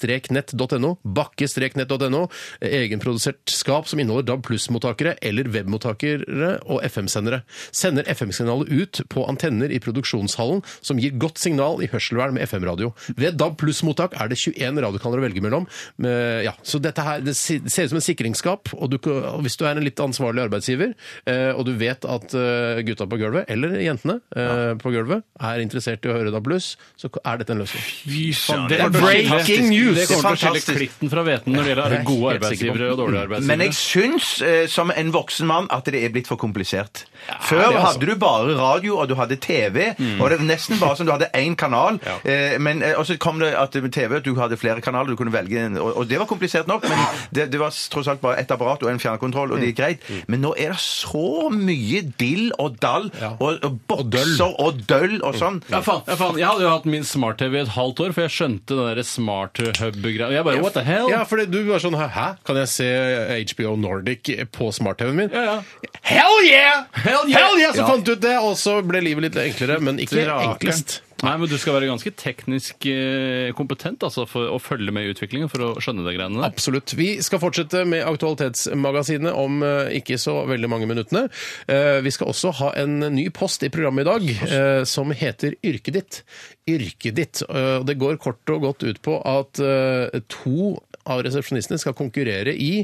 bakke-nett.no. Bakke-nett.no. eh, Egenprodusert skap som inneholder DAB pluss-mottakere eller webmottakere og FM-sendere. Sender FM-signalet ut på antenner i produksjonshallen som gir godt signal i hørselvern med FM-radio. Ved DAB pluss-mottak er det 21 radiokanaler å velge mellom. Eh, Ja, så dette her det si- ser ut som en sikringsskap, og, du, kan- og hvis du er en litt ansvarlig arbeidsgiver, eh, og du vet at eh, gutta på gulvet, eller jentene eh, på gulvet, er interessert i å høre DAB pluss, så er dette en løsning.
Fy faen,
det er breaking news!
Det kommer til å skille
Fantastisk.
klitten fra hveten når det
Det er
gjelder
jeg
gode
helt sikker på.
arbeidsgivere og dårlige arbeidsgivere.
Men jeg syns, eh, som en voksen mann, at det er blitt for komplisert. Før
det er altså-
hadde du bare radio, og du hadde TV, og det var nesten bare som du hadde én kanal. Eh, Men, eh, og så kom det at med TV at du hadde flere kanaler, du kunne velge en, og, og det var komplisert nok, men det, det var tross alt bare ett apparat og en fjernkontroll, og det gikk greit. Men nå er det så mye dill og dall
Ja.
og, og
Og døll.
bokser og døll og sånn.
Ja, faen, ja, faen. Jeg hadde jo hatt min smart-TV i et halvt år, for jeg skjønte den der smart hub-greia. Jeg bare, what the hell?
Ja, for det- du var sånn Hæ, kan jeg se eh, HBO Nordic på smart-TV-en min?
Ja, ja.
Hell yeah!
Hell yeah!
Hell yeah! Så
Ja.
fant du ut det, og så ble livet litt enklere, men ikke
Rake.
enklest.
Nei, men du skal være ganske teknisk eh, kompetent altså, for å følge med i utviklingen for å skjønne de greiene der.
Absolutt. Vi skal fortsette med Aktualitetsmagasinet om eh, ikke så veldig mange minuttene. Eh, Vi skal også ha en ny post i programmet i dag eh, som heter Yrket ditt. Yrket ditt. Eh, og Det går kort og godt ut på at eh, to av resepsjonistene skal konkurrere i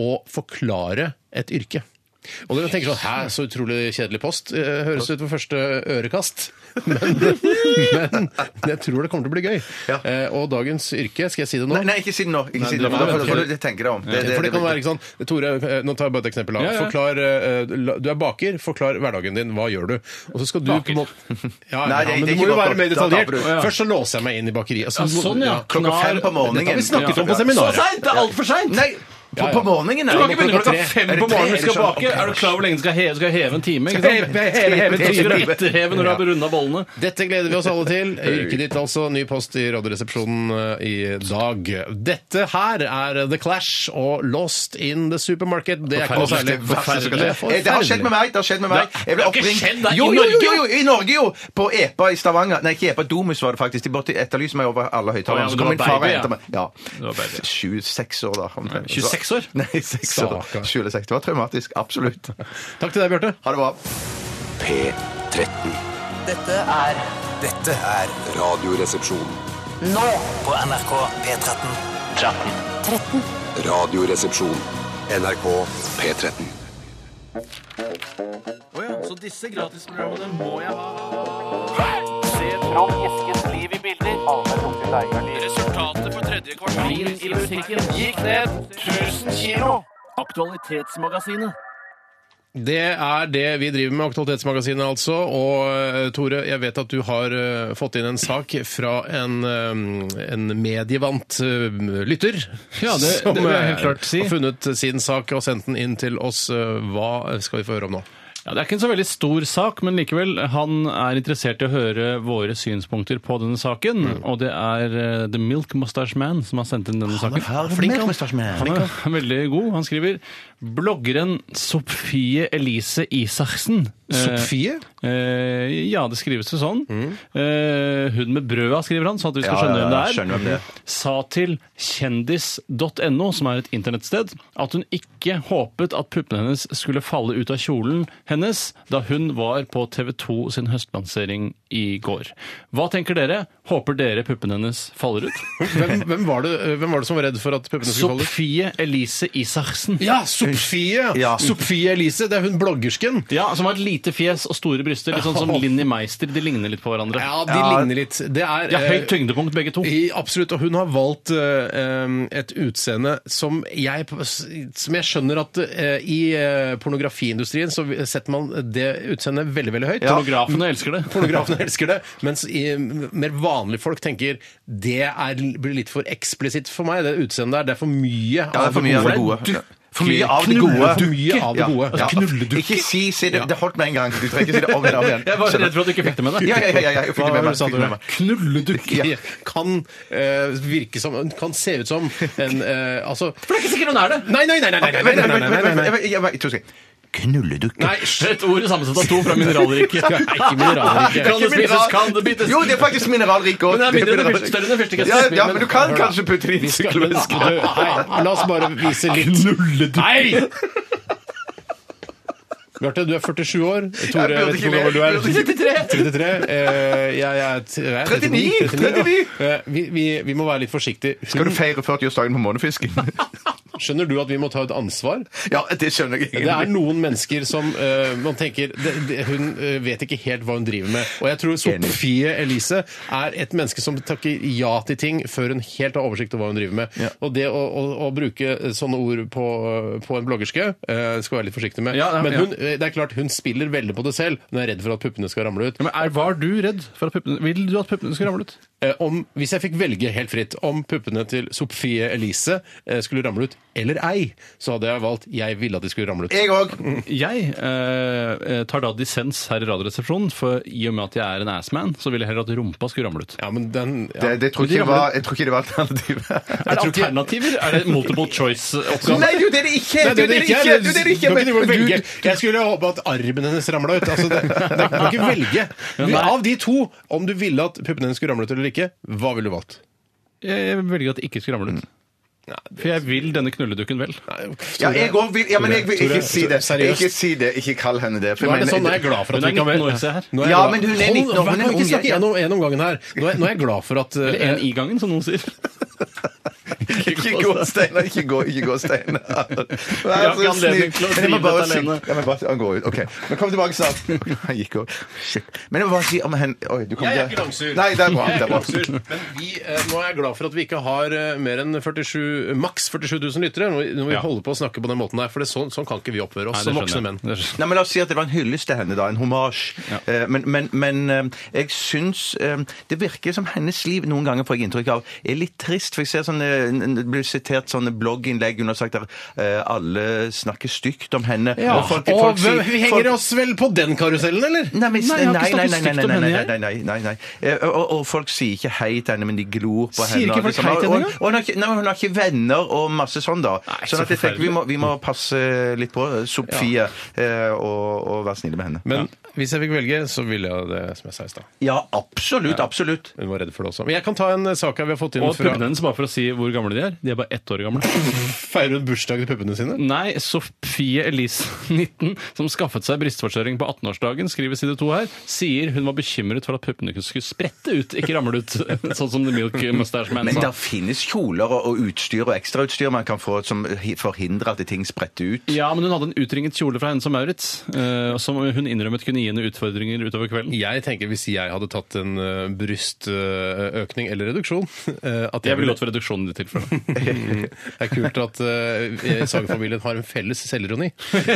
å forklare et yrke. Og dere tenker sånn Hæ, så utrolig kjedelig post. Eh, Høres ut på første ørekast. Men, men jeg tror det kommer til å bli gøy.
Ja.
Eh, Og dagens yrke, skal jeg si det nå?
Nei, nei, ikke si det nå. Ikke si det
det
nå.
var-
for Da får du tenke deg om. Det-
For det kan
det-
være ikke sånn Tore, eh, nå tar jeg bare et eksempel. da.
Ja, ja.
Forklar, eh, la- du er baker, forklar hverdagen din. Hva gjør du? Og så skal du
Baker.
på en måte ja, ja,
Nei, det- det er
men Du må
ikke
jo
baker.
være mer
Da taper
detaljert.
du.
Ja.
Først så låser jeg meg inn i bakeriet.
Ja,
Altså, du må-
sånn, ja.
Klokka
Knar-
fem på morgenen.
Dette har vi snakket om
Ja.
på seminar.
seint! Det er altfor seint! Nei, på,
ja.
på morgenen.
Du kan ikke begynne klokka
tre.
fem på morgenen vi skal bake! Er du klar over hvor lenge du skal heve, skal jeg heve en time? Ikke sant?
Heve, heve, heve,
Men så skal du
heve.
etterheve når du har runda bollene.
Dette gleder vi oss alle til. Yrket ditt, altså. Ny post i Radioresepsjonen eh, i dag. Dette her er The Clash og Lost in the Supermarket. Det er ikke noe særlig.
Forferdelig. Eh, Det har skjedd med meg. Det har skjedd med meg. Jeg ble
Det har ikke skjedd
oppringt
deg i
jo, jo, jo,
Norge?
jo, jo, i Norge, jo! På Epa i Stavanger. Nei, ikke Epa, Domus var det faktisk. De måtte etterlyse meg over alle
Å, ja,
høyttalerne.
men
Så
du
kom
var
min far og
baby, ja.
henta meg. Ja.
Du var baby.
26 år, da. omtrent.
26 år?
Nei, 6 år.
Stakkar.
26. Det var traumatisk. Absolutt.
Takk til deg, Bjarte.
Ha det bra.
P13.
Dette er Dette er
Radioresepsjon.
nå på NRK P13. 13.
Radioresepsjon. NRK P13.
Det er det vi driver med, Aktualitetsmagasinet altså. Og eh, Tore, jeg vet at du har eh, fått inn en sak fra en, eh, en medievant eh, lytter.
Ja, det- det vil jeg helt
eh,
klart si.
har funnet sin sak og sendt den inn til oss. Eh, Hva skal vi få høre om nå?
Ja, det er ikke en så veldig stor sak, men likevel. Han er interessert i å høre våre synspunkter på denne saken. Og det er eh, The Milk Mustache Man som har sendt inn denne saken.
Flink mustache-man.
Han er veldig god. Han skriver bloggeren Sofie Elise Isaksen. eh,
Sofie?
Eh, ja, det skrives jo sånn. Eh, hun med brøda, skriver han, sånn at vi
Mm.
skal
Ja,
skjønne
ja, ja,
hvem
skjønner hvem
det
det
er. Sa til kjendis.no, som er et internettsted, at hun ikke håpet at puppene hennes skulle falle ut av kjolen hennes da hun var på TV 2 sin høstlansering i går. Hva tenker dere? Håper dere puppene hennes faller ut?
Hvem, hvem, var det, eh, hvem var det som var redd for at puppene skulle falle ut?
Sofie Elise Isaksen.
Ja, Sofie!
Ja.
Sofie Elise, det er hun bloggersken.
Ja, som har et lite fjes og store bryster, litt sånn som Linni Meister. De ligner litt på hverandre.
Ja, de
Ja.
ligner litt. Det er
Ja,
eh,
høyt tyngdepunkt begge to.
i- Absolutt. Og hun har valgt eh, em, et utseende som jeg, som jeg skjønner at eh, i eh, pornografiindustrien så setter man det utseendet veldig, veldig høyt.
Pornografene elsker det.
Pornografene elsker det, mens i, mer vanlige folk tenker det er, blir litt for eksplisitt for meg, det utseendet der. Det er for
Ja,
mye
det er for mye av det gode.
dukker.
For mye av det gode.
For mye av det gode.
Ja. Altså,
Knulledukke.
Ikke si, si det. Det holdt med en gang. Du trenger ikke si det om igjen og om igjen.
Jeg var redd for at du ikke fikk det med deg.
Ja, ja, ja, ja, ja. Jeg fikk
Hva
det med
var det
meg,
du sa,
fikk det med
Tore?
meg.
Knulledukke
Ja.
kan eh, virke som Kan se ut som en eh, Altså
For det er ikke sikkert hun er det!
Nei, nei, nei! nei, nei, nei, nei,
Vent, vent,
nei, nei, nei,
vent,
nei, nei.
vent, vent. To sekunder. Knulledukke.
Nei,
Det er Et ord sammensatt av to fra mineralriket. Nei, ikke mineralriket. Kan det spises, kan det bites?
Jo, det er faktisk mineralrik òg.
Men det er mindre enn det første, større enn det første. ikke
Ja,
sant?
ja, men du kan kanskje putte det inn i
Skal
syklusen.
du-
Nei, la oss bare vise litt
Nei!
Bjarte, du er 47 år.
Jeg burde
Tore, jeg vet
ikke
ikke hvor gammel du er.
le. Jeg burde
33. Eh, jeg er t- hva er jeg?
39,
39. Eh, vi, vi, vi må være litt forsiktige. Hun-
Skal du feire 40-årsdagen på månefisken?
Skjønner du at vi må ta et ansvar?
Ja, det skjønner jeg
Det er
egentlig.
noen mennesker som eh, man tenker det, det, Hun eh, vet ikke helt hva hun driver med. Og jeg tror Sofie Elise er et menneske som takker ja til ting før hun helt har oversikt over hva hun driver med.
Ja.
Og det å, å, å bruke eh, sånne ord på, på en bloggerske eh, skal være litt forsiktig med.
Ja, ja,
Men
ja.
hun, eh, det er klart hun spiller veldig på det selv. Hun er redd for at puppene skal ramle ut.
Ja, men er, var du redd for at puppene Vil du at puppene skulle ramle ut?
Eh, om, hvis jeg fikk velge helt fritt om puppene til Sofie Elise eh, skulle ramle ut eller ei, så hadde jeg valgt jeg ville at de skulle ramle ut.
Jeg òg.
Jeg eh, tar da dissens her i Radioresepsjonen, for i og med at jeg er en assman, så vil jeg heller at rumpa skulle ramle ut.
Ja, men den... Ja.
Det, det tror ikke jeg, var, jeg tror ikke det var alternativet.
Er det alternativer? Er det multiple choice-oppgave?
Nei, du, det er det ikke!
Nei,
Du, det er det ikke! Du, det er det ikke!
Du kan ikke
Men-
velge.
men du-
Jeg skulle håpe at armen hennes ramla ut. Altså, det, det, du kan ikke velge. Du,
Nei.
av de to, om du ville at puppene hennes skulle ramle ut eller ikke, hva ville du valgt?
Jeg velger at det ikke skulle
Mm.
ramle ut. For jeg vil denne knulledukken vel.
Ja, jeg òg vil Ja, men jeg vil ikke
Tore,
si det.
seriøst.
Ikke si det. Ikke kall henne det. for
Nå er det
jeg
sånn, nå er
mener-
jeg glad for at
Hun er
vi kan
19 år, se her.
Nå er jeg
Ja,
glad-
men hun er 19 år, hun er
Hold, kan vi ikke
ung,
snakke
jeg-
gjennom en om gangen her. Nå er, nå er jeg glad for at
Eller en
eh,
i gangen, som noen sier.
Ikke gå, Steinar. Ikke gå, ikke gå, Steinar.
har
Vær
ikke
så
anledning til å
snill. Men jeg må
drive
bare
dette
si
alene.
Jeg må bare, Han går ut. OK. Men kom tilbake snart. Han gikk over. Shit. Men jeg må bare si om henne Oi, du kom
Jeg er
der.
ikke langsur.
Nei, det er bra. Det er bra.
Absurd. Men vi, eh, nå er jeg glad for at vi ikke har eh, mer enn 47, maks 47 000 lyttere når vi, når vi
Ja.
holder på å snakke på den måten her. For det, sånn, sånn kan ikke vi oppføre oss som voksne menn.
Nei,
Nei, men La oss si at det var en hyllest til henne, da. En hommage.
Ja.
Eh, Men, men, men eh, jeg syns eh, det virker som hennes liv noen ganger får jeg inntrykk av er litt trist. For jeg ser sånne, det blir sitert sånne blogginnlegg hun har sagt der eh, alle snakker stygt om henne.
Ja. Og, hvem-
sier-
vi henger
folk-
oss vel på den karusellen, eller?
Nei, men,
Nei,
nei,
jeg har
nei, nei,
ikke
nei,
snakket
nei,
stygt om
nei,
henne,
nei, nei, nei, nei. Eh, Og, og folk sier ikke hei til henne, men de glor på
Sier
henne.
ikke
og
folk hei til
og-
henne
og- og hun har ikke- Nei, hun har ikke venner og masse sånn, da.
Nei,
Sånn
så
at jeg tenker vi må, vi må passe litt på Sofie eh, og, og være snille med henne.
Men hvis jeg fikk velge, så ville jeg det som jeg sa i stad.
Ja, absolutt, absolutt.
Hun var redd for det også. Men jeg kan ta en eh, sak her vi har fått inn
Og
fra
puppene hennes, bare for å si hvor gamle de er. De er bare ett år gamle.
Feirer hun bursdag til puppene sine?
Nei, Sofie Elise, 19, som skaffet seg brystforstørring på 18-årsdagen, skriver side 2 her, sier hun var bekymret for at puppene skulle sprette ut, ikke ramle ut, sånn som The Milk Mustache Man
Men
sa.
der finnes kjoler og, og utstyr og ekstrautstyr man kan få som hi- forhindrer at ting spretter ut.
Ja, men hun hadde en utringet kjole fra henne som Maurits, eh, som hun innrømmet kunne gi henne utfordringer utover kvelden.
Jeg tenker Hvis jeg hadde tatt en eh, brystøkning eller reduksjon eh, at
Jeg ville gått for reduksjonen i det
Det er kult at uh, Saga-familien har en felles selvironi.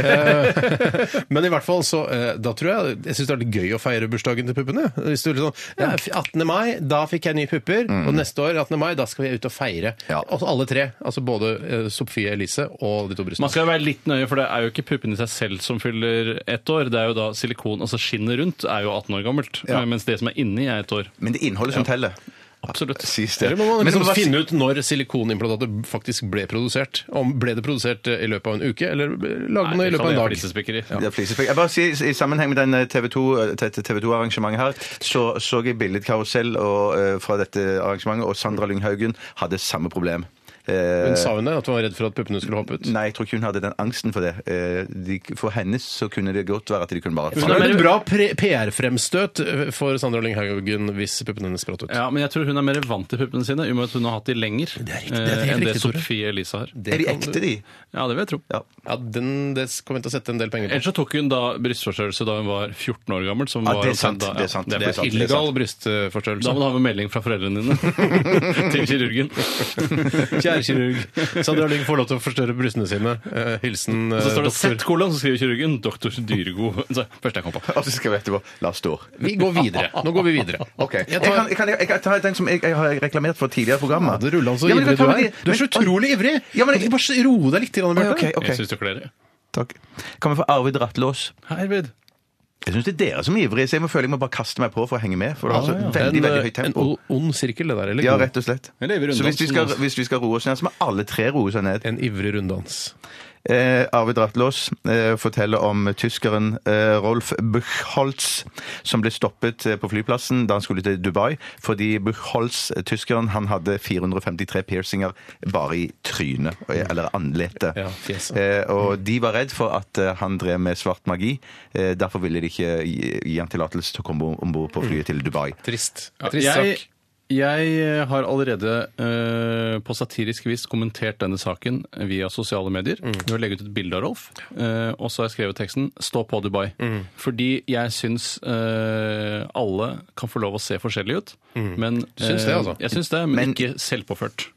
Eh, men i hvert fall så eh, Da tror jeg jeg syns det er litt gøy å feire bursdagen til puppene. Hvis du liksom, ja, 18. mai, da fikk jeg nye pupper.
Mm.
Og neste år, 18. mai, da skal vi ut og feire.
Ja.
Altså alle tre. Altså både eh, Sofie Elise og de to brystene.
Man skal jo være litt nøye, for det er jo ikke puppene i seg selv som fyller ett år. Det er jo da silikon, altså skinnet rundt, er jo 18 år gammelt.
Ja.
Mens det som er inni, er ett år.
Men det er innholdet som teller.
Absolutt.
Sies det.
Eller må man
Men
liksom
så bare-
finne ut når silikonimplantatet faktisk ble produsert? Om Ble det produsert eh, i løpet av en uke, eller lagde man det i løpet av en dag?
Flisespikkeri.
Det er flisespikkeri. Jeg bare sier, I sammenheng med den eh, TV 2-arrangementet her, så så jeg billedkarusell og, eh, fra dette arrangementet, og Sandra Lynghaugen hadde samme problem. Eh,
Men sa hun det? At hun var redd for at puppene skulle hoppe ut?
Nei, jeg tror ikke hun hadde den angsten for det. Eh, de, for hennes så kunne det godt være at de kunne bare
Det var et bra pre- PR-fremstøt for Sandra Lynghaugen hvis puppene hennes spratt ut.
Ja, men jeg tror hun er mer vant til puppene sine, i og med at hun har hatt de lenger
riktig, det er
eh,
helt
enn det
riktig, Tore.
Sofie Elise har.
Er de ekte, de?
Ja, det vil jeg tro.
Ja.
Ja, den, det kommer jeg til å sette en del penger på.
Ellers så tok hun da brystforstørrelse da hun var 14 år gammel. Som
Ja,
var
det er sant,
omtrent da-
det er sant,
Ja,
det er
for
sant, det er
illegal
sant.
brystforstørrelse. Da må du ha med melding fra foreldrene dine til kirurgen.
Kjære kirurg, Sandra Lyng får lov til å forstørre brystene sine. Eh, hilsen eh,
Så står det
doktor.
'sett kolon', så skriver kirurgen 'doktor Dyregod'. Så Første jeg kom på.
Og så skal vi etterpå La oss stå.
Vi går videre. Nå går vi videre.
Ok. Jeg,
Jeg
kan,
tar...
jeg, kan, jeg kan ta den som jeg, jeg har reklamert for tidligere i programmet.
Det ruller han så
Ja, men
ivrig
jeg
du
kan ta
er.
med de-
Du er så
men-
utrolig ivrig!
Ja, men jeg-
Bare s- roe deg litt, til, Anne Bjarte.
Ok, ok.
Jeg syns du klarer det.
Takk. Kan vi få Arvid Rattlås?
Hei, Arvid.
Jeg syns det er dere som er ivrige, så jeg må føle jeg må bare kaste meg på for å henge med. For det har så Altså, veldig,
En,
veldig
eh,
høyt tempo.
En o- ond sirkel, det der. Eller?
Ja, rett og slett.
Jeg lever i
Så hvis vi,
runddansen,
skal,
altså.
hvis vi skal roe oss ned, så må alle tre roe seg ned.
En ivrig runddans.
Eh, Arvid Rattlås eh, forteller om tyskeren eh, Rolf Buchholz som ble stoppet eh, på flyplassen da han skulle til Dubai, fordi Buchholz, eh, tyskeren, han hadde 453 piercinger bare i trynet, eh, eller anletet.
Ja, fjeset.
eh, og de var redd for at eh, han drev med svart magi, eh, derfor ville de ikke gi, gi han tillatelse til å komme om bord på flyet til Dubai.
Trist.
Ja,
Trist
jeg,
sak.
jeg har allerede eh, på satirisk vis kommentert denne saken via sosiale medier.
Mm.
Du har legget ut et bilde av Rolf, eh, og så har jeg skrevet teksten 'Stå på Dubai'.
Mm.
Fordi jeg syns eh, alle kan få lov å se forskjellige ut. Men,
Mm. syns det, altså?
eh, Jeg syns det, men,
Men-
ikke selvpåført.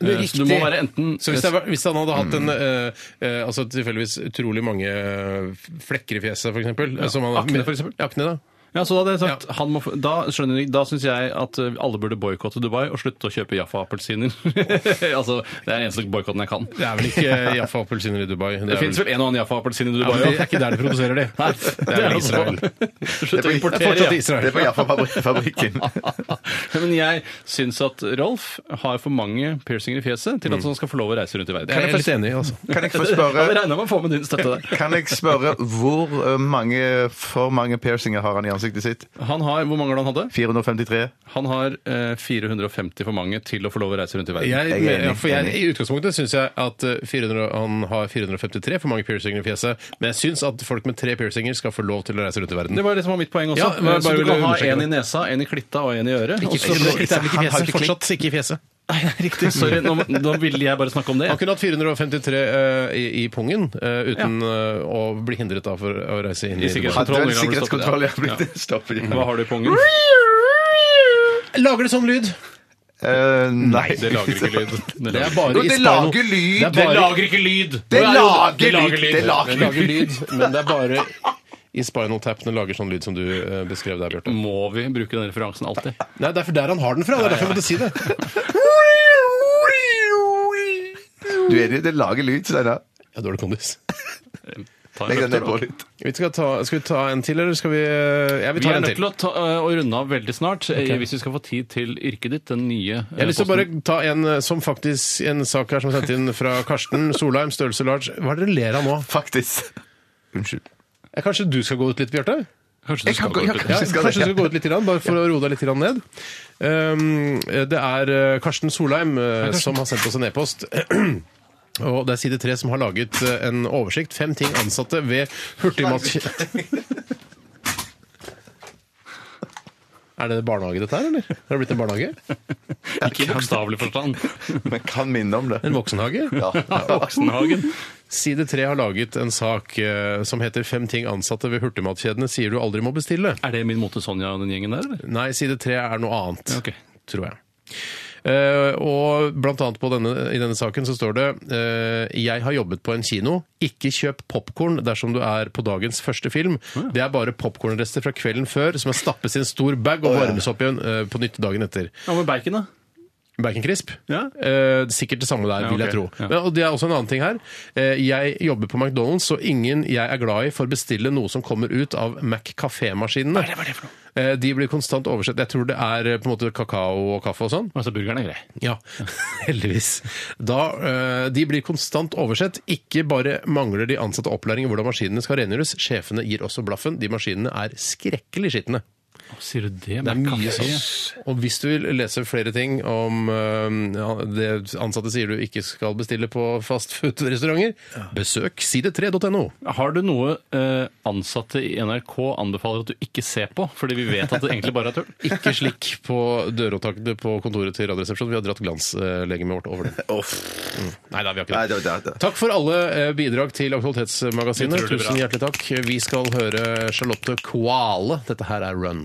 Du,
Eh, så du må
riktig.
være enten Mm.
Så hvis, det, var- hvis han hadde hatt en eh, eh, altså tilfeldigvis utrolig mange eh, flekker i fjeset, for eksempel, eh, som han-
Akne, for eksempel.
Akne, da.
Ja, så Da hadde jeg sagt, han må, få- da skjønner jeg, da syns jeg at eh, alle burde boikotte Dubai og slutte å kjøpe Jaffa-appelsiner. altså, Det er den eneste boikotten jeg kan.
Det er vel ikke Jaffa-appelsiner i Dubai?
Det, finnes vel en og annen Jaffa-appelsin i Dubai
det
òg.
er ikke der de produserer de.
Nei, altså-
det er vel Israel.
Slutt å
Det er
importere.
fortsatt
ja.
Israel.
Det er på Jaffa-fabrikken.
Men jeg syns at Rolf har for mange piercinger i fjeset til at han skal få lov å reise rundt i verden.
Mm. Det er jeg litt enig i, altså.
Kan jeg få
Jeg
spørre
hadde regna med å få med din støtte der.
Kan jeg spørre hvor eh, mange for mange piercinger har han i ansiktet sitt?
Han har, Hvor mange har han hadde?
453?
Han har eh, 450 for mange til å få lov å reise rundt i verden.
Jeg,
Jeg er enig,
ja, for jeg,
enig.
I utgangspunktet syns jeg at eh, 400, han har 453 for mange piercinger i fjeset, men jeg syns at folk med tre piercinger skal få lov til å reise rundt i verden.
Det var det som var mitt poeng også.
Ja, men jeg
så du
bare ville
kan ha
understreke
en i
det.
nesa, en i klitta og en i øret.
Ikke,
og så-
ikke,
Han har
ikke, fjeset,
ikke klipp.
fortsatt ikke i fjeset.
Nei, det er riktig. Sorry, nå, nå ville jeg bare snakke om det.
Han kunne hatt 453 eh, i, i pungen eh, uten eh, å bli hindret da for å reise inn i
I sikkerhet.
Hadde
Kontroll,
en
vi kan
sikkerhetskontroll ja, blitt
vel stoppe det.
stoppet.
Hva har du i pungen?
Lager det sånn lyd?
Eh, nei.
Det lager ikke lyd. Det
Det
lager.
er bare
Jo, det
i Spano.
lager lyd.
Det er
Det
bare,
lager ikke lyd!
Det
Jo, jo,
lager lyd, det
Det
lager
det lager lyd, men det er bare i Spinal Tap den lager sånn lyd som du eh, beskrev der, Bjarte.
Må vi bruke den referansen alltid?
Nei, det er for der han har den fra. Det er derfor jeg måtte si det.
Du er enig, det lager lyd, Steinar.
Jeg har dårlig kondis.
Ta en
Legg den
nøkkel,
ned
da.
på litt.
Vi skal, ta, skal vi ta en til, eller skal vi Jeg vil
Vi
ta
er
en
nødt til
til.
å, ta, eh, å runde av veldig snart, eh, hvis vi skal få tid til yrket ditt, den nye eh,
Jeg har lyst til å bare
posten.
ta en eh, som faktisk en sak her som er sendt inn fra Karsten Solheim, størrelse large. Hva er det dere ler av nå?
Faktisk. Unnskyld.
Eh, Kanskje du skal gå ut litt, Bjarte?
Kanskje du
Jeg kan
skal
gå-
gå
jeg
ut
kan-
litt?
Ja,
Kanskje skal
kanskje
det, ja.
du skal gå ut litt, grann, bare for å roe deg litt grann ned. Um, det er eh, Karsten Solheim eh, som har sendt oss en e-post. Og det er Side 3 som har laget eh, en oversikt. Fem ting ansatte ved hurtigmatkjeden Er det barnehage dette her, eller? Har det blitt en barnehage?
Ikke i bokstavelig forstand.
Men kan minne om det.
En voksenhage?
Ja.
Voksenhagen.
Side 3 har laget en sak eh, som heter 'Fem ting ansatte ved hurtigmatkjedene sier du aldri må bestille'.
Er det min mote Sonja og den gjengen der, eller?
Nei, side 3 er noe annet.
Ok.
tror jeg. Eh, og blant annet på denne, i denne saken så står det eh, Jeg har jobbet på en kino. Ikke kjøp popkorn dersom du er på dagens første film. Det er bare popkornrester fra kvelden før som er stappes i en stor bag og varmes opp igjen eh, på nytt dagen etter.
Hva med bacon, da?
Bacon crisp?
Ja.
Eh, sikkert det samme der,
Ja,
vil jeg
ok.
tro.
Ja.
Men, og det er også en annen ting her. Eh, jeg jobber på McDonald's, og ingen jeg er glad i får bestille noe som kommer ut av Mac-kafémaskinene. Eh, de blir konstant oversett. Jeg tror det er eh, på en måte kakao og kaffe og sånn.
Altså, burgeren er grei.
Ja, heldigvis. Da, eh, de blir konstant oversett. Ikke bare mangler de ansatte opplæring i hvordan maskinene skal rengjøres, sjefene gir også blaffen. De maskinene er skrekkelig skitne.
Sier du det?
Det er mye sånn. Og hvis du vil lese flere ting om øhm, ja, det ansatte sier du ikke skal bestille på fastfood-restauranter, besøk side3.no.
Har du noe eh, ansatte i NRK anbefaler at du ikke ser på, fordi vi vet at det egentlig bare er tull?
Ikke slikk på døråpptakene på kontoret til Radioresepsjonen. Vi har dratt glanslegemet vårt over det. Nei da, vi har
Nei,
ikke
det
det.
var det.
Takk for alle eh, bidrag til Aktualitetsmagasinet.
Utrolig bra.
Tusen hjertelig takk. Vi skal høre Charlotte Kvale. Dette her er Run.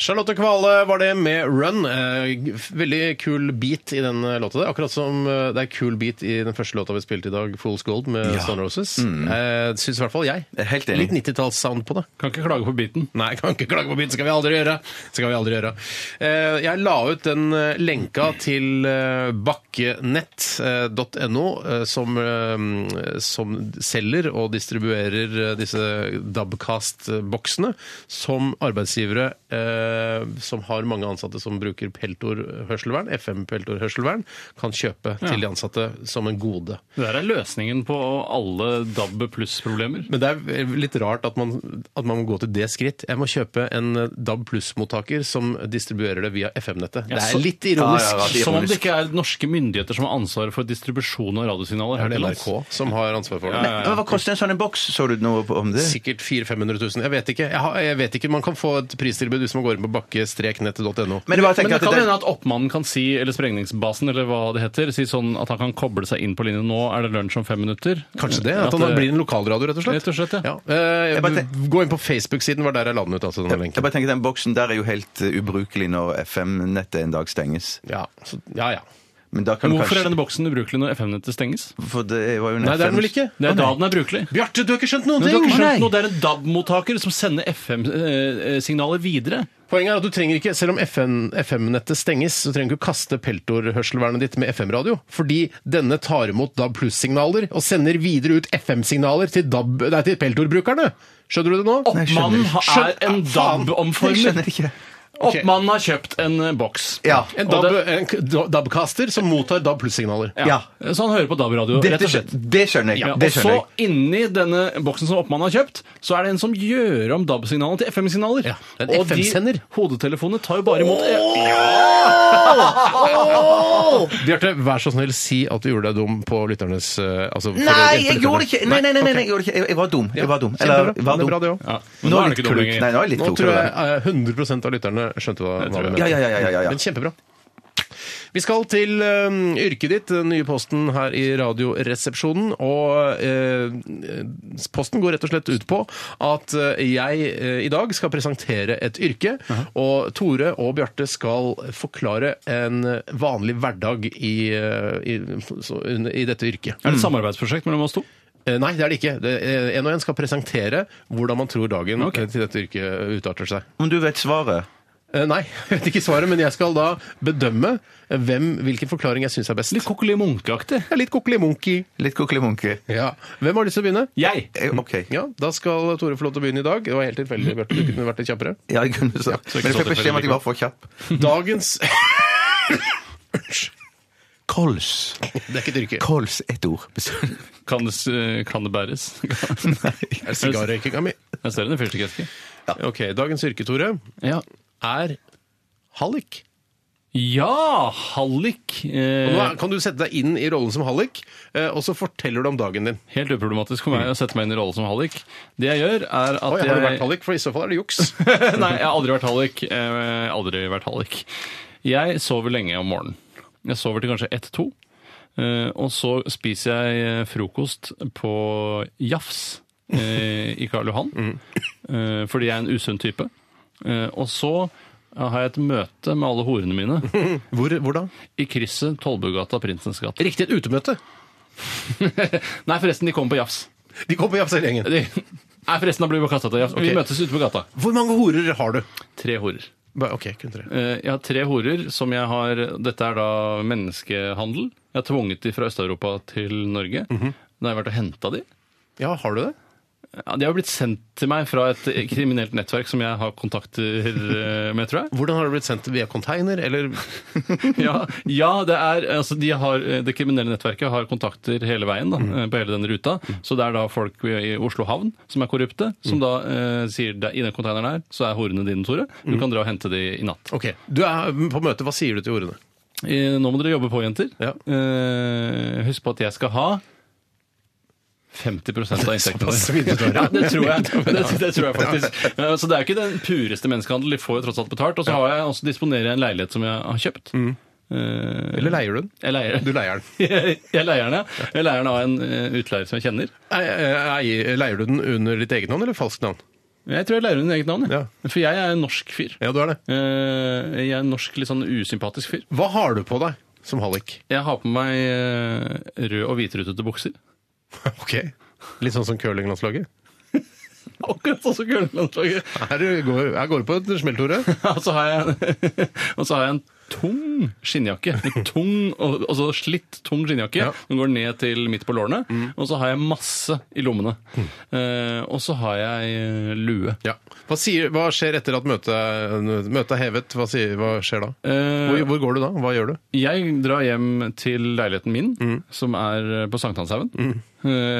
Charlotte Kvale var det med Run. Eh, Veldig kul beat i den låta der. Akkurat som eh, det er kul beat i den første låta vi spilte i dag, Fool's Gold med Stone Roses. Eh, Syns i hvert fall jeg.
er helt enig.
Litt 90-tallssound på det.
Kan ikke klage på biten.
Nei, jeg kan ikke klage på beat. Skal vi aldri gjøre. Skal vi aldri gjøre. Eh, Jeg la ut den eh, lenka til eh, bakkenett.no, eh, som, eh, som selger og distribuerer eh, disse Dabcast-boksene, som arbeidsgivere eh, som har mange ansatte som bruker peltor hørselvern, FM peltor hørselvern, kan kjøpe til de ansatte som en gode.
Det der er løsningen på alle DAB pluss-problemer.
Men det er litt rart at man, at man må gå til det skritt. Jeg må kjøpe en eh, DAB Pluss-mottaker som distribuerer det via FM-nettet. Det
så-
er litt ironisk.
Ja, ja, ja, det er
Som om
ironisk.
det ikke er norske myndigheter som har ansvaret for distribusjon av radiosignaler. her
Det er
til lands.
NRK som har ansvar for det.
Men Hva koster en sånn en boks? Så du noe på- om det?
Sikkert 400 000-500 000. Jeg vet ikke. Jeg, har, jeg vet ikke. Man kan få et pristilbud hvis man går inn på bakke-nettet.no.
Men det bare
Men
tenker
det
at
kan
det-
hende at oppmannen kan si, eller sprengningsbasen, eller hva det heter, si sånn at han kan koble seg inn på linjen nå, er det lunsj om fem minutter?
Kanskje det? At han
det-
blir en lokalradio, rett og slett?
Rett og slett, ja.
Eh,
Jeg bare tenk-
Gå inn på Facebook-siden, var der jeg la den ut. altså, denne
Jeg
lenken.
bare tenker Den boksen der er jo helt eh, ubrukelig når FM-nettet en dag stenges.
Ja, så, ja. ja.
Men da kan
Men
du
hvorfor
kanskje...
er denne boksen ubrukelig når FM-nettet stenges?
For det var jo en
Nei, det er den
FM
vel ikke?
Det er da den er brukelig.
Bjarte, du har ikke skjønt
Men
noen
du
ting!
har ikke
Nei.
skjønt noe, det er en DAB-mottaker som sender FM-signalet eh, videre.
Poenget er at du trenger ikke, selv om FN FM-nettet stenges, så trenger du ikke kaste peltorhørselvernet ditt med FM-radio. Fordi denne tar imot DAB pluss-signaler og sender videre ut FM-signaler til, DAB nei, til peltorbrukerne. Skjønner du det nå?
Oppmannen er
Skjønner- Ah,
en
Faen.
Jeg
DAB-omformer.
skjønner ikke.
Ok.
Oppmannen har kjøpt en eh, boks.
Ja.
En
Og
DAB
det-
en k- DAB-kaster som mottar DAB pluss-signaler.
Ja. Eh, Så han hører på DAB-radio,
Det,
rett og slett.
det, det skjønner jeg.
Ja,
Det
og så
skjønner jeg.
inni denne boksen som oppmannen har kjøpt, så er det en som gjør om DAB-signalene til FM-signaler.
Ja, en
og
FM-sender.
de hodetelefonene tar jo bare imot
Bjarte, vær så snill, si at du gjorde deg dum på lytternes eh, altså, for-
Nei, jeg gjorde det ikke! Nei, nei, nei, nei, nei, jeg gjorde det ikke. Jeg- Jeg var dum. Jeg var dum. Eller,
Kjempebra.
jeg var
Det er
dum.
bra, det også.
ja,
Nå er jeg litt klok. Nei, nå er jeg litt
Nå
klok.
tror jeg eh, 100 av lytterne skjønte hva, hva vi mente.
Ja, ja, ja, ja, ja, ja.
Men kjempebra. Vi skal til øhm, yrket ditt, den nye posten her i Radioresepsjonen. Og øh, posten går rett og slett ut på at øh, jeg øh, i dag skal presentere et yrke. Og Tore og Bjarte skal forklare en vanlig hverdag i, øh, i, så, under- i dette yrket.
Er det et samarbeidsprosjekt mellom oss to?
Eh, Nei, det er det ikke. Det- eh, En og en skal presentere hvordan man tror dagen
Ok.
eh, til dette yrket utarter seg.
Om du vet svaret
Eh, Nei, jeg vet ikke svaret, men jeg skal da bedømme eh, hvem, hvilken forklaring jeg syns er best.
Litt Kokkeli Munke-aktig.
Det er litt kokkelimunki.
Litt kokkelimunke.
Ja. Hvem har lyst til å begynne?
Jeg!
Eh, OK.
Ja, Da skal Tore få lov til å begynne i dag. Det var helt tilfeldig, Bjarte. Du kunne vært litt kjappere.
Ja, jeg kunne så. Men jeg fikk beskjed om at jeg var for kjapp.
Dagens
Kols.
Det er ikke et yrke.
Kols, ett ord.
Kan det, s- eh, kan det bæres?
Er det Sigarrøykinga mi.
Jeg ser den i fyrstikkesken.
Ok, dagens yrke, Tore,
Ja.
er hallik.
ja! Hallik.
Og Nå
Eh,
er- kan du sette deg inn i rollen som hallik, eh, og så forteller du om dagen din.
helt uproblematisk for meg å sette meg inn i rollen som hallik. Det jeg gjør, er at
Oi, har du vært
jeg
hallik? For i så fall er det juks.
Nei, jeg har aldri vært hallik. Eh, aldri vært hallik. Jeg sover lenge om morgenen. Jeg sover til kanskje ett-to. Eh, og så spiser jeg eh, frokost på jafs. eh, i Karl Johan,
Mm.
eh, fordi jeg er en usunn type. Eh, og så har jeg et møte med alle horene mine
Hvor, hvor da?
i krysset Tollbugata Prinsens gate.
Riktig, et utemøte.
Nei, forresten, de kommer på jafs.
De kom på Japsar-gjengen.
De, nei, forresten, da blir vi på kassa til jafs.
Ok.
Vi møtes ute på gata.
Hvor mange horer har du?
Tre horer.
Ba- Ok, kun tre.
Eh, Jeg har tre horer som jeg har Dette er da menneskehandel. Jeg har tvunget de fra Øst-Europa til Norge. Da har jeg vært og henta de.
Ja, har du det?
Ja, de har blitt sendt til meg fra et kriminelt nettverk som jeg har kontakter eh, med, tror jeg.
Hvordan har det blitt sendt? Via container, eller
Ja, ja det, er, altså, de har, det kriminelle nettverket har kontakter hele veien da, eh, på hele den ruta. Så det er da folk i Oslo havn som er korrupte, som da eh, sier det, i den containeren her så er horene dine, Tore. Du kan dra og hente de i natt.
Ok, du er på møte. Hva sier du til horene?
Eh, Nå må dere jobbe på, jenter.
Ja.
Eh, husk på at jeg skal ha 50 av inntektene
Såpass vidt du tar, ja.
Ja, det tror jeg. Det, det tror jeg faktisk. Eh, Så det er jo ikke den pureste menneskehandel. De får jo tross alt betalt. Og så har jeg også disponerer jeg en leilighet som jeg har kjøpt.
Mm.
Eh,
Eller leier du den?
Jeg leier,
Du leier den.
jeg leier den, ja. Jeg leier den av en eh, utleier som jeg kjenner.
Ei- ei- ei- Leier du den under ditt eget navn eller falskt navn?
Jeg tror jeg leier den i eget navn, jeg.
Ja.
For jeg er en norsk fyr.
Ja, du er det.
Eh, Jeg er en norsk, litt sånn usympatisk fyr.
Hva har du på deg som hallik?
Jeg har på meg eh, rød- og hvitrutete bukser.
Ok. Litt sånn som curlinglandslaget?
Akkurat sånn som Gullandslaget.
Her går her går det på et smell, Tore.
Og så har jeg, og så har jeg en tung skinnjakke. En tung, og, og så slitt tung skinnjakke.
Ja. Mm.
Den går ned til midt på lårene. Og så har jeg masse i lommene. Eh, og så har jeg eh, lue.
Ja. Hva, sier, hva skjer etter at møtet, er- møtet er hevet? Hva, sier, hva skjer da?
Eh,
Hvor, hvor går du da? Hva gjør du?
Jeg drar hjem til leiligheten min,
Mm.
som er på Sankthanshaugen. Eh,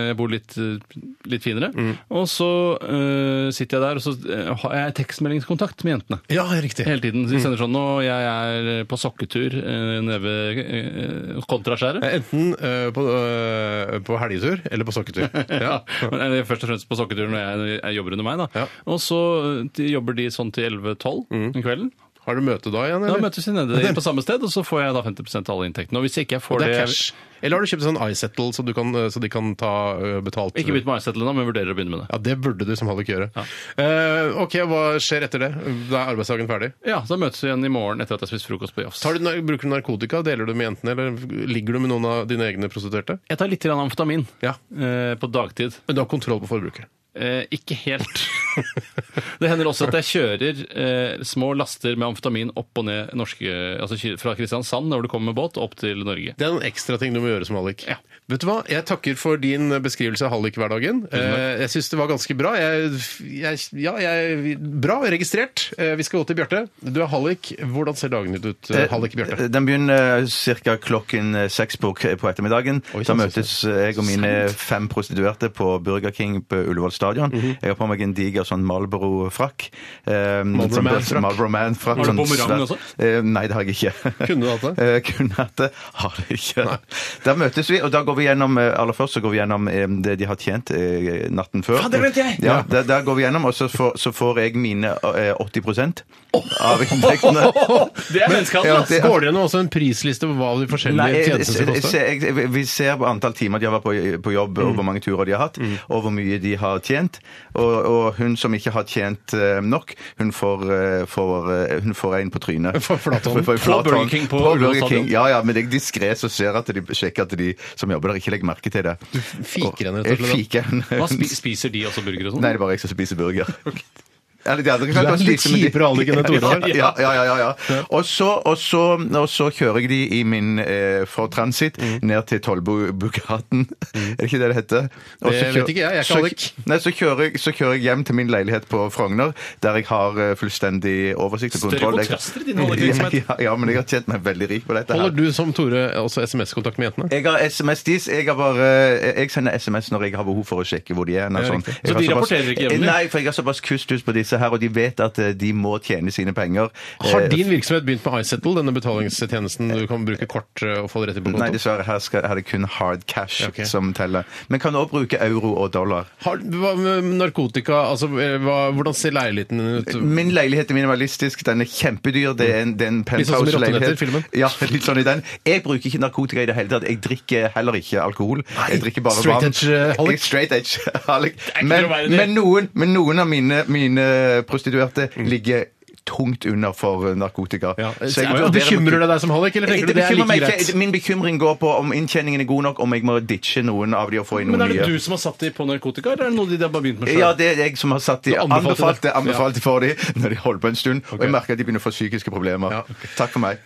Jeg bor litt, eh, litt finere.
Mm.
Og så eh, sitter jeg der, og så eh, har jeg tekstmeldingskontakt med jentene.
Ja, riktig. Mm.
Hele tiden. De sender sånn 'Nå, jeg er på sokketur eh, nede ved eh, Kontraskjæret'.
Enten eh, på, eh, på helgetur eller på sokketur.
Ja. Men jeg er først og fremst på sokketur når jeg, jeg jobber under meg. da.
Ja. Mm.
Og så eh, de jobber de sånn til 11-12 om kvelden.
Har du møte da igjen,
Da
eller?
møtes vi nede på samme sted, og så får jeg da 50 av alle inntektene. Og hvis ikke jeg får
det
det,
er cash. Eller har du kjøpt sånn iSettle, så, du kan, eh, så de kan ta eh, betalt?
Ikke begynt med iSettle ennå, men vurderer å begynne med det.
Ja, det burde du som hallik gjøre. Eh, ok, hva skjer etter det? Da er arbeidsdagen ferdig.
Ja, så da møtes vi igjen i morgen etter at jeg har spist frokost på Jafs.
Tar du, nar- bruker du narkotika? Deler du med jentene? Eller ligger du med noen av dine egne prostituerte?
Jeg tar litt grann amfetamin
Ja.
eh, på dagtid.
Men du har kontroll på forbruket?
Eh, ikke helt. det hender også at jeg kjører eh, små laster med amfetamin opp og ned norske, altså ky- fra Kristiansand når du kommer med båt, opp til Norge.
Det er en ekstra ting du må gjøre som hallik.
Ja.
Vet du hva? Jeg takker for din beskrivelse av hallik-hverdagen. Eh, jeg syns det var ganske bra. Jeg, jeg, ja, jeg, bra registrert. Eh, vi skal gå til Bjarte. Du er hallik. Hvordan ser dagen din ut, eh, hallik-Bjarte?
Den begynner ca. klokken eh, seks på, k- på ettermiddagen.
Oi,
da
sant,
møtes eh, jeg og mine fem prostituerte på Burger King på Ullevål stadion. Jeg har på meg en diger sånn Marlboro-frakk. Eh, sånn-
Man-frakk?
Marlboro Man-frakk.
Har du
sånn
bumerang
svær-
også?
Eh, Nei, det har jeg ikke.
Kunne du hatt det?
Eh, Kunne hatt det. Har det ikke. Da møtes vi, og da går vi gjennom eh, aller først så går vi gjennom eh, det de har tjent eh, natten før.
Faen, det glemte jeg!
Ja, der, der går vi gjennom, og så får, så får jeg mine eh, 80 av inntektene.
Det er menneskehandel!
Ja,
ass!
det-
altså, Går det nå også en prisliste på hva de forskjellige
Nei, jeg,
tjenestene skal
jeg,
koste?
jeg, jeg, vi ser på antall timer de har vært på, på jobb,
Mm.
og hvor mange turer de har hatt, og hvor mye de har tjent. Og, og hun som ikke har tjent eh, nok, hun får, eh, får, eh, hun får en på trynet.
For flathånden.
For- for
På Burger
flathånden.
King på
På Burger
Ullevål
King. Ja, ja, men jeg er diskré så ser at de sjekker at de som jobber der, ikke legger merke til det. Du
fiker henne, rett og
Jeg
slett.
fiker henne.
Hva spi- spiser de også burger og sånn?
Nei, det er bare jeg som spiser burger. Eller, de andre kan
Du er
godt
litt
spise, men de-
kjipere allik enn Tore.
Ja, ja, ja. ja, ja, ja. Og, så, og, så, og så kjører jeg de i min eh, for transit
Mm.
ned til Tollbugaten. Er det ikke det det heter? Og
Det
så
vet ikke jeg, jeg er ikke
så-
allik.
Nei, så kjører, jeg, så kjører jeg hjem til min leilighet på Frogner, der jeg har eh, fullstendig oversikt og
Større
kontroll. Jeg-
kontraster i din hallikvirksomhet.
Ja, ja, men jeg har tjent meg veldig rik på dette her.
Holder du som Tore også SMS-kontakt med jentene?
Jeg har SMS-dis. Jeg, har bare- eh, jeg sender SMS når jeg har behov for å sjekke hvor de er. eller
Ja,
sånn.
riktig.
Jeg
Så
har
de
såpass-
rapporterer ikke jevnlig?
Nei, for jeg har såpass kustus på disse disse her, og de vet at eh, de må tjene sine penger.
Har
Eh,
din virksomhet begynt med iSettle, denne betalingstjenesten du kan bruke kort eh, og få det rett inn på
Nei,
konto?
dessverre. Her skal, er det kun hard cash
Ok.
som teller. Men kan også bruke euro og dollar.
Har, hva med narkotika? Altså, eh, hva, hvordan ser leiligheten din ut?
Min leilighet er minimalistisk. Den er kjempedyr. Det er en, det er en
Litt sånn som i
penthouse-leilighet.
Rottenetter-filmen.
Ja, litt sånn i den. Jeg bruker ikke narkotika i det hele tatt. Jeg drikker heller ikke alkohol. Jeg drikker bare
Straight
vann.
edge-holic.
Jeg er Straight edge holic.
er ikke
Men,
noe verre enn det.
men, noen, men noen av mine, mine prostituerte ligger tungt under for narkotika.
Mm. Ja.
Så jeg vurderer
Og Bekymrer
nok-
det deg som hallik, eller tenker
Eh, det
du det er
bekymrer
like
meg
greit?
ikke. Min bekymring går på om inntjeningen er god nok, om jeg må ditche noen av de og få inn
Men
noen
er det
nye.
du som har satt dem på narkotika, eller er det noe de har bare begynt med
Ja,
sjøl?
det er jeg som har satt de
anbefalte
anbefalt
det.
det anbefalt det for dem når de holder på en stund. Og jeg merker at de begynner å få psykiske problemer.
Ja.
Takk for meg.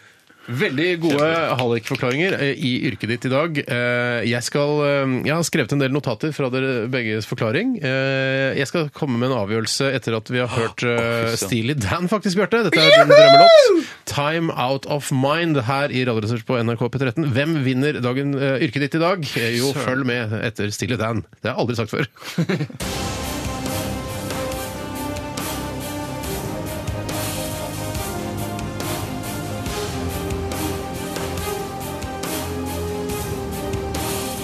Veldig gode hallikforklaringer eh, i yrket ditt i dag. Eh, Jeg, skal, eh, jeg har skrevet en del notater fra dere begges forklaring. Eh, Jeg skal komme med en avgjørelse etter at vi har hørt eh, Steely Dan, faktisk, Bjarte. Dette er din drømmelåt. 'Time Out of Mind' her i Radioresurs på NRK P13. Hvem vinner dagen, eh, yrket ditt i dag? Eh, Jo, følg med etter Steely Dan. Det har jeg aldri sagt før.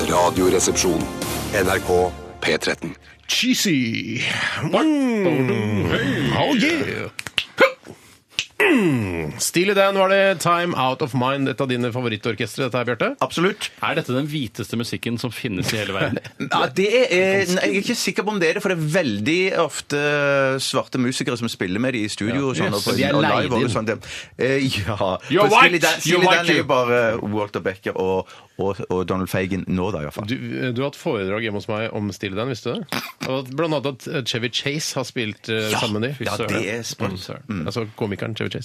Radioresepsjon. NRK P13.
Cheesy. Mm. Oh yeah. Mm. Steely Dan var det. Time Out of Mind, et av dine favorittorkestre. Dette her, Bjarte.
Absolutt.
Er dette den hviteste musikken som finnes i hele verden?
Ja, det er, eh, nei, jeg er ikke sikker på om det er det, for det er veldig ofte svarte musikere som spiller med de i studio. og sånn, og på-
så de er
og
leid
live og
inn.
sånn, det- eh, Ja.
You're
For Steely
white,
Dan,
you're
Steely
white,
Dan er
you.
jo bare eh, Walter Becker og, og, og Donald Fagan nå, da, i hvert fall.
Du, du har hatt foredrag hjemme hos meg om Steely Dan, visste du det? Og Blant annet at eh, Chevy Chase har spilt eh, sammen med de.
Ja, det er Mm. sprøtt.
Altså komikeren Chevy Chase.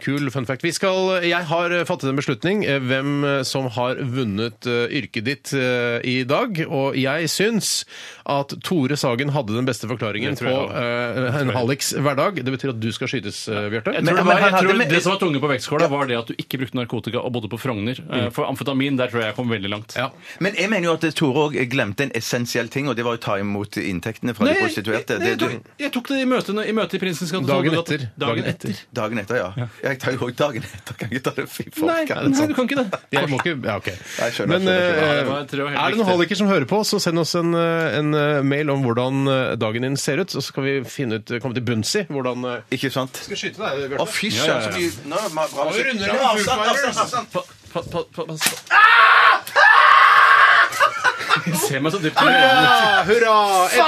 Kul fun fact. Vi skal, jeg har eh, fattet en beslutning eh, hvem eh, som har vunnet eh, yrket ditt eh, i dag. Og jeg syns at Tore Sagen hadde den beste forklaringen
Det
på
tror jeg
eh, en halliks hverdag. Det betyr at du skal skytes, eh, Bjarte.
Men-
Jeg tror, det,
men
var,
han
jeg
hadde
tror
med-
det som var tunge på vektskåla, var det at du ikke brukte narkotika og bodde på Frogner.
Mm.
Eh, For amfetamin, der tror jeg jeg kom veldig langt.
Ja.
Men jeg mener jo at Tore òg glemte en essensiell ting, og det var å ta imot inntektene fra de prostituerte.
nei,
Det,
jeg, tok, jeg tok det i møte, i møte i Prinsens gate.
Dagen
Så-
etter.
Dagen
Dagen
etter.
Dagen etter, ja. Jeg tar jo også dagen etter. Kan ikke ta det fy folk.
Nei,
kan
nei,
sånn.
du kan ikke det.
Jeg må ikke, ja, ok.
Nei, skjønner,
Men
skjønner, skjønner.
eh,
Ja, det var- jeg tror det var helt
er det noen
riktig.
halliker som hører på, så send oss en, eh, en eh, mail om hvordan eh, dagen din ser ut, så skal vi finne ut, eh, komme til bunns i hvordan eh,
Ikke sant?
Skal skyte deg,
Å, fy søren, så mye Nå, ma- bra musikk.
runder det
Ja,
med
avstand,
Foo Fighters.
avstand, avstand.
Pa- pa- pa- pa- pa- Ah! Se meg så dypt i øynene.
Ja, hurra!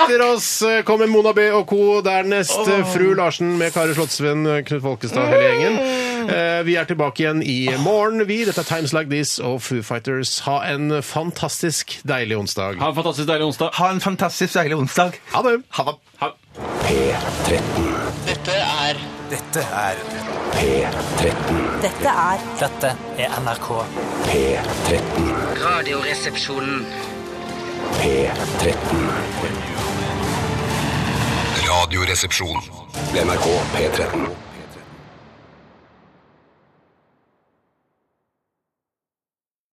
Etter oss eh, kommer Mona B og co. Dernest eh, Fru Larsen med Kari Slottsveen, eh, Knut Folkestad og hele gjengen. Eh, Vi er tilbake igjen i morgen, vi. Dette er Times Like This og Foo Fighters. Ha en fantastisk deilig onsdag.
Ha en fantastisk deilig onsdag.
Ha en fantastisk deilig onsdag.
Ha det!
Ha det.
P13.
Dette er
P13.
Dette er
Dette er NRK.
P13.
Radioresepsjonen.
P13.
Radioresepsjon.
NRK P13.